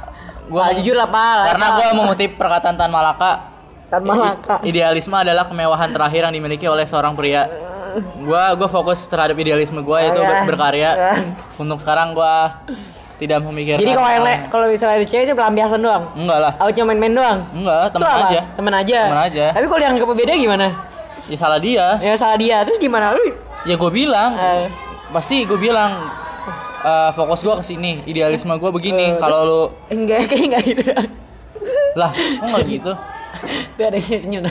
[SPEAKER 4] gue
[SPEAKER 2] Gua jujur lah, Pal.
[SPEAKER 4] karena gue mengutip perkataan Tan Malaka
[SPEAKER 2] tan malaka.
[SPEAKER 4] i- idealisme adalah kemewahan terakhir yang dimiliki oleh seorang pria gue gue fokus terhadap idealisme gue yaitu
[SPEAKER 2] Oh, ya.
[SPEAKER 4] ber- berkarya untuk sekarang gue tidak memikirkan
[SPEAKER 2] Jadi kalau yang le- kalau misalnya ada cewek itu pelampiasan doang.
[SPEAKER 4] enggak lah
[SPEAKER 2] Aku cuma main-main doang.
[SPEAKER 4] enggak
[SPEAKER 2] Itu
[SPEAKER 4] teman
[SPEAKER 2] apa?
[SPEAKER 4] aja
[SPEAKER 2] Temen aja.
[SPEAKER 4] Temen aja.
[SPEAKER 2] Tapi kalau yang nggak beda gimana?
[SPEAKER 4] ya salah dia
[SPEAKER 2] Ya salah dia. Terus gimana lu?
[SPEAKER 4] ya gue bilang
[SPEAKER 2] Eh.
[SPEAKER 4] pasti gue bilang eh, fokus gue ke sini idealisme gue
[SPEAKER 2] Eh,
[SPEAKER 4] begini kalau lu
[SPEAKER 2] Enggak, kayaknya enggak gitu.
[SPEAKER 4] lah kok nggak gitu
[SPEAKER 2] Itu ada yang senyum.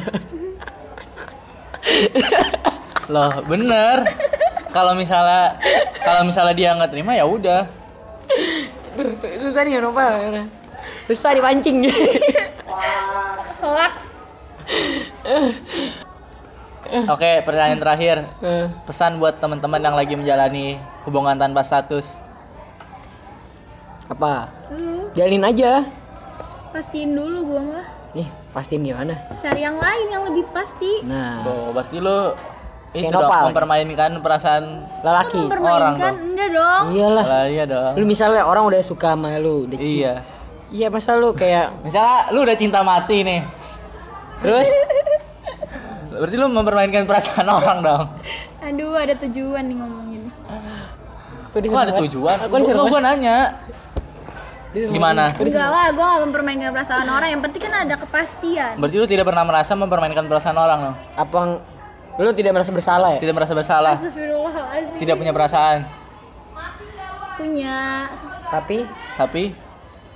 [SPEAKER 4] loh bener kalau misalnya kalau misalnya dia nggak terima ya udah
[SPEAKER 2] Duh, Susah nih kenapa? Susah dipancing. Eh,
[SPEAKER 1] Hoax.
[SPEAKER 4] oke pertanyaan terakhir
[SPEAKER 2] Eh,
[SPEAKER 4] pesan buat teman-teman yang lagi menjalani hubungan tanpa status
[SPEAKER 2] apa?
[SPEAKER 1] Lu
[SPEAKER 2] Jalin aja.
[SPEAKER 1] pastiin dulu gua mah.
[SPEAKER 2] Nih, pastiin gimana?
[SPEAKER 1] Cari yang lain yang lebih pasti.
[SPEAKER 2] Nah,
[SPEAKER 4] tuh pasti lu itu
[SPEAKER 2] Kayak
[SPEAKER 4] dong,
[SPEAKER 2] nopal.
[SPEAKER 4] mempermainkan perasaan
[SPEAKER 2] lelaki.
[SPEAKER 4] orang
[SPEAKER 1] Mempermainkan
[SPEAKER 4] dong.
[SPEAKER 1] enggak dong.
[SPEAKER 2] Iyalah.
[SPEAKER 4] lah iya dong
[SPEAKER 2] Lu misalnya orang udah suka sama lu, udah ci-
[SPEAKER 4] iya
[SPEAKER 2] Iya, masa lu kayak
[SPEAKER 4] misalnya lu udah cinta mati nih
[SPEAKER 2] terus
[SPEAKER 4] berarti lu mempermainkan perasaan orang dong
[SPEAKER 1] Aduh, ada tujuan nih ngomongin.
[SPEAKER 2] Kok
[SPEAKER 4] kok ada tujuan
[SPEAKER 2] Aku disuruh
[SPEAKER 4] Kok gue nanya gimana
[SPEAKER 1] Enggak lah, gua nggak mempermainkan perasaan orang. Yang penting kan ada kepastian.
[SPEAKER 4] berarti lu tidak pernah merasa mempermainkan perasaan orang dong
[SPEAKER 2] Apa ng- lu tidak merasa bersalah ya?
[SPEAKER 4] tidak merasa bersalah
[SPEAKER 1] Astagfirullahaladzim.
[SPEAKER 4] tidak punya perasaan
[SPEAKER 1] Punya.
[SPEAKER 2] Tapi
[SPEAKER 4] tapi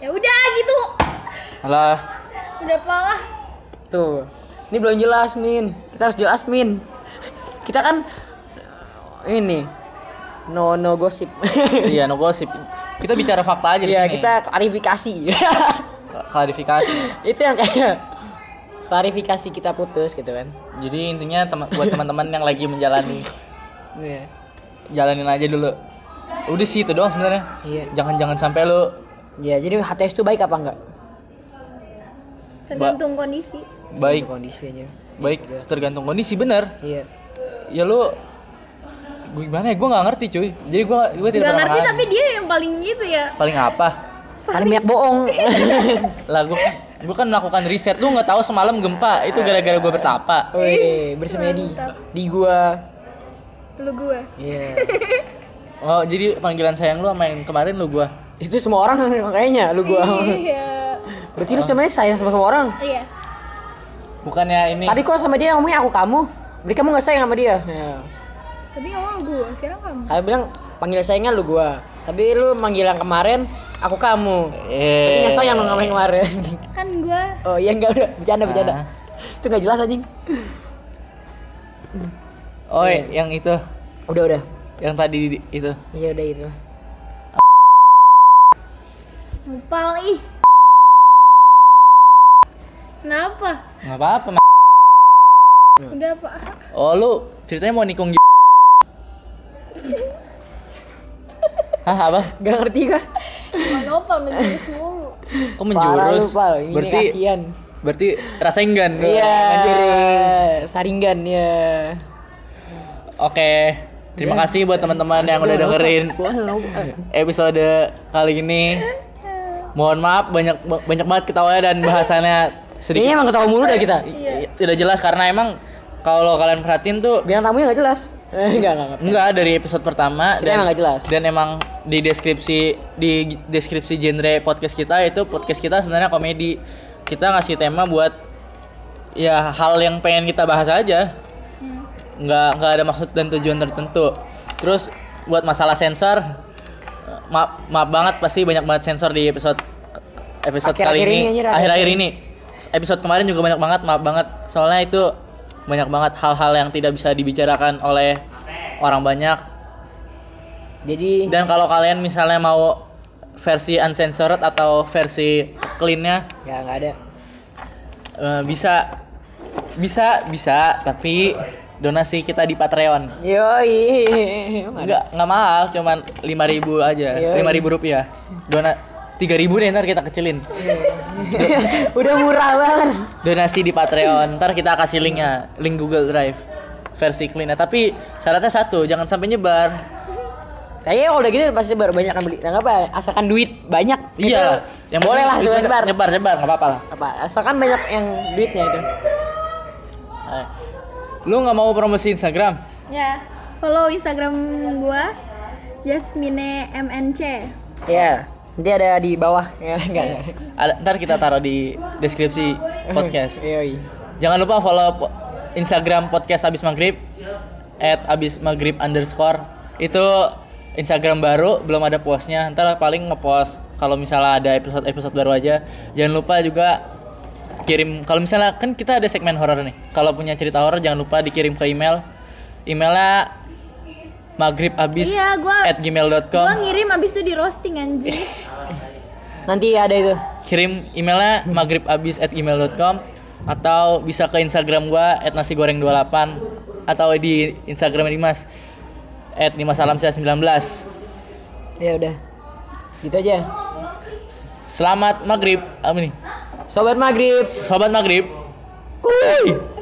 [SPEAKER 1] Ya udah gitu.
[SPEAKER 4] lah
[SPEAKER 1] Udah pala.
[SPEAKER 2] tuh, ini belum jelas, Min. Kita harus jelas, Min. Kita kan eh, ini no no gosip.
[SPEAKER 4] iya no gosip kita bicara fakta aja di
[SPEAKER 2] Iya,
[SPEAKER 4] sini
[SPEAKER 2] kita klarifikasi.
[SPEAKER 4] Kla- klarifikasi
[SPEAKER 2] itu yang kayak klarifikasi kita putus gitu kan
[SPEAKER 4] jadi intinya tema- buat teman-teman yang lagi menjalani
[SPEAKER 2] iya
[SPEAKER 4] jalanin aja dulu udah sih itu doang sebenarnya
[SPEAKER 2] Iya.
[SPEAKER 4] jangan jangan sampai lu
[SPEAKER 2] ya jadi HTS itu baik apa enggak
[SPEAKER 1] tergantung kondisi
[SPEAKER 4] baik
[SPEAKER 2] kondisi aja
[SPEAKER 4] baik tergantung kondisi bener
[SPEAKER 2] Gitu iya
[SPEAKER 4] ya lu gue gimana ya gue nggak ngerti cuy jadi gue gue tidak
[SPEAKER 1] nggak
[SPEAKER 4] pernah
[SPEAKER 1] ngerti
[SPEAKER 4] ngerti,
[SPEAKER 1] tapi dia yang paling gitu ya
[SPEAKER 4] paling apa
[SPEAKER 2] paling banyak bohong
[SPEAKER 4] lah gue gue kan melakukan riset lu nggak tahu semalam gempa itu gara-gara gue bertapa
[SPEAKER 2] Woi, bersemedi
[SPEAKER 1] Mantap.
[SPEAKER 2] di gua.
[SPEAKER 1] lu gue
[SPEAKER 2] Iya.
[SPEAKER 4] oh jadi panggilan sayang lu sama yang kemarin lu gue
[SPEAKER 2] Itu semua orang kayaknya lu gua.
[SPEAKER 1] iya
[SPEAKER 2] Berarti lu sebenarnya sayang sama semua orang.
[SPEAKER 1] iya
[SPEAKER 4] bukannya ini
[SPEAKER 2] Tadi kok sama dia ngomongnya aku kamu. Berarti kamu nggak sayang sama dia. Ya.
[SPEAKER 1] tapi ngomong gue sekarang kamu
[SPEAKER 2] Kalau bilang panggil sayangnya lu gua. Tapi lu manggil yang kemarin aku kamu. Berarti
[SPEAKER 4] eh
[SPEAKER 2] nggak sayang dong sama yang kemarin.
[SPEAKER 1] kan gue
[SPEAKER 2] oh iya enggak udah bercanda bercanda.
[SPEAKER 4] Ah.
[SPEAKER 2] Itu nggak jelas anjing.
[SPEAKER 4] oh
[SPEAKER 2] Iya.
[SPEAKER 4] yang itu
[SPEAKER 2] Udah udah.
[SPEAKER 4] yang tadi di- itu
[SPEAKER 2] Iya udah itu.
[SPEAKER 1] ngupal ih kenapa
[SPEAKER 4] nggak apa-apa Ma.
[SPEAKER 1] udah pak
[SPEAKER 4] oh lu ceritanya mau nikung gi- Hah apa?
[SPEAKER 2] Gak ngerti gua.
[SPEAKER 1] Emang opal menjurus mulu
[SPEAKER 4] Kok
[SPEAKER 2] Parah lu,
[SPEAKER 4] menjurus?
[SPEAKER 2] Pal. Ini
[SPEAKER 4] berarti
[SPEAKER 2] kasihan.
[SPEAKER 4] berarti rasa enggan lu,
[SPEAKER 2] Iya.
[SPEAKER 4] menjurus.
[SPEAKER 2] Saringan ya.
[SPEAKER 4] Oke,
[SPEAKER 2] Iya.
[SPEAKER 4] terima kasih buat teman-teman yang udah dengerin episode kali ini. Mohon maaf banyak banyak banget ketawanya dan bahasannya
[SPEAKER 2] Kayaknya
[SPEAKER 4] sedikit
[SPEAKER 2] emang ketawa mulu dah kita.
[SPEAKER 4] tidak jelas karena emang kalau kalian perhatiin tuh
[SPEAKER 2] Bilang tamunya nggak jelas. Eh, enggak, enggak, enggak.
[SPEAKER 4] enggak dari episode pertama
[SPEAKER 2] Kita emang nggak jelas.
[SPEAKER 4] dan emang di deskripsi di deskripsi genre podcast kita itu podcast kita sebenarnya komedi. Kita ngasih tema buat ya hal yang pengen kita bahas aja. nggak nggak ada maksud dan tujuan tertentu terus buat masalah sensor eh, maaf maaf banget pasti banyak banget sensor di episode episode kali
[SPEAKER 2] Akhir-akhir ini,
[SPEAKER 4] ini
[SPEAKER 2] anjir,
[SPEAKER 4] akhir-akhir ini episode kemarin juga banyak banget maaf banget soalnya itu banyak banget hal-hal yang tidak bisa dibicarakan oleh orang banyak
[SPEAKER 2] Jadi
[SPEAKER 4] dan kalau kalian misalnya mau versi uncensored atau versi cleannya
[SPEAKER 2] ya nggak ada.
[SPEAKER 4] eh, bisa bisa bisa tapi donasi kita di Patreon
[SPEAKER 2] Yoi. Ah.
[SPEAKER 4] Enggak, enggak mahal, cuman 5000 aja.
[SPEAKER 2] Iya.
[SPEAKER 4] 5000 rupiah. Dona 3000 deh ntar kita kecilin.
[SPEAKER 2] Udah murah banget.
[SPEAKER 4] Donasi di Patreon, ntar kita kasih linknya, link Google Drive versi clean. Nah, tapi syaratnya satu, jangan sampai nyebar.
[SPEAKER 2] Kayaknya kalau udah gini pasti baru banyak yang beli. Nah, nggak apa asalkan duit banyak.
[SPEAKER 4] Iya,
[SPEAKER 2] yang boleh lah
[SPEAKER 4] penting
[SPEAKER 2] sebentar.
[SPEAKER 4] nyebar, nyebar, nggak apa-apa lah.
[SPEAKER 2] Apa asalkan banyak yang duitnya itu.
[SPEAKER 4] Eh, Lu nggak mau promosi Instagram?
[SPEAKER 1] ya follow instagram gue Jasmine MNC
[SPEAKER 2] Ya. Nanti ada di bawah ya enggak. enggak.
[SPEAKER 4] Ada, ntar kita taruh di deskripsi podcast.
[SPEAKER 2] Yoi.
[SPEAKER 4] Jangan lupa follow po- Instagram podcast abis maghrib at abis maghrib underscore itu Instagram baru belum ada postnya ntar paling ngepost kalau misalnya ada episode episode baru aja jangan lupa juga kirim kalau misalnya kan kita ada segmen horor nih kalau punya cerita horor jangan lupa dikirim ke email emailnya maghrib abis
[SPEAKER 1] iya gua
[SPEAKER 4] at gmail.com
[SPEAKER 1] gua ngirim abis itu di roasting anjing
[SPEAKER 2] Nanti ada itu.
[SPEAKER 4] kirim emailnya maghribabis at gmail.com atau bisa ke instagram gua at nasi goreng 28 atau di instagram Dimas at Dimas Alam 19
[SPEAKER 2] Ya udah. Gitu aja.
[SPEAKER 4] selamat maghrib apa nih
[SPEAKER 2] Sobat Maghrib.
[SPEAKER 4] sobat maghrib Kuy!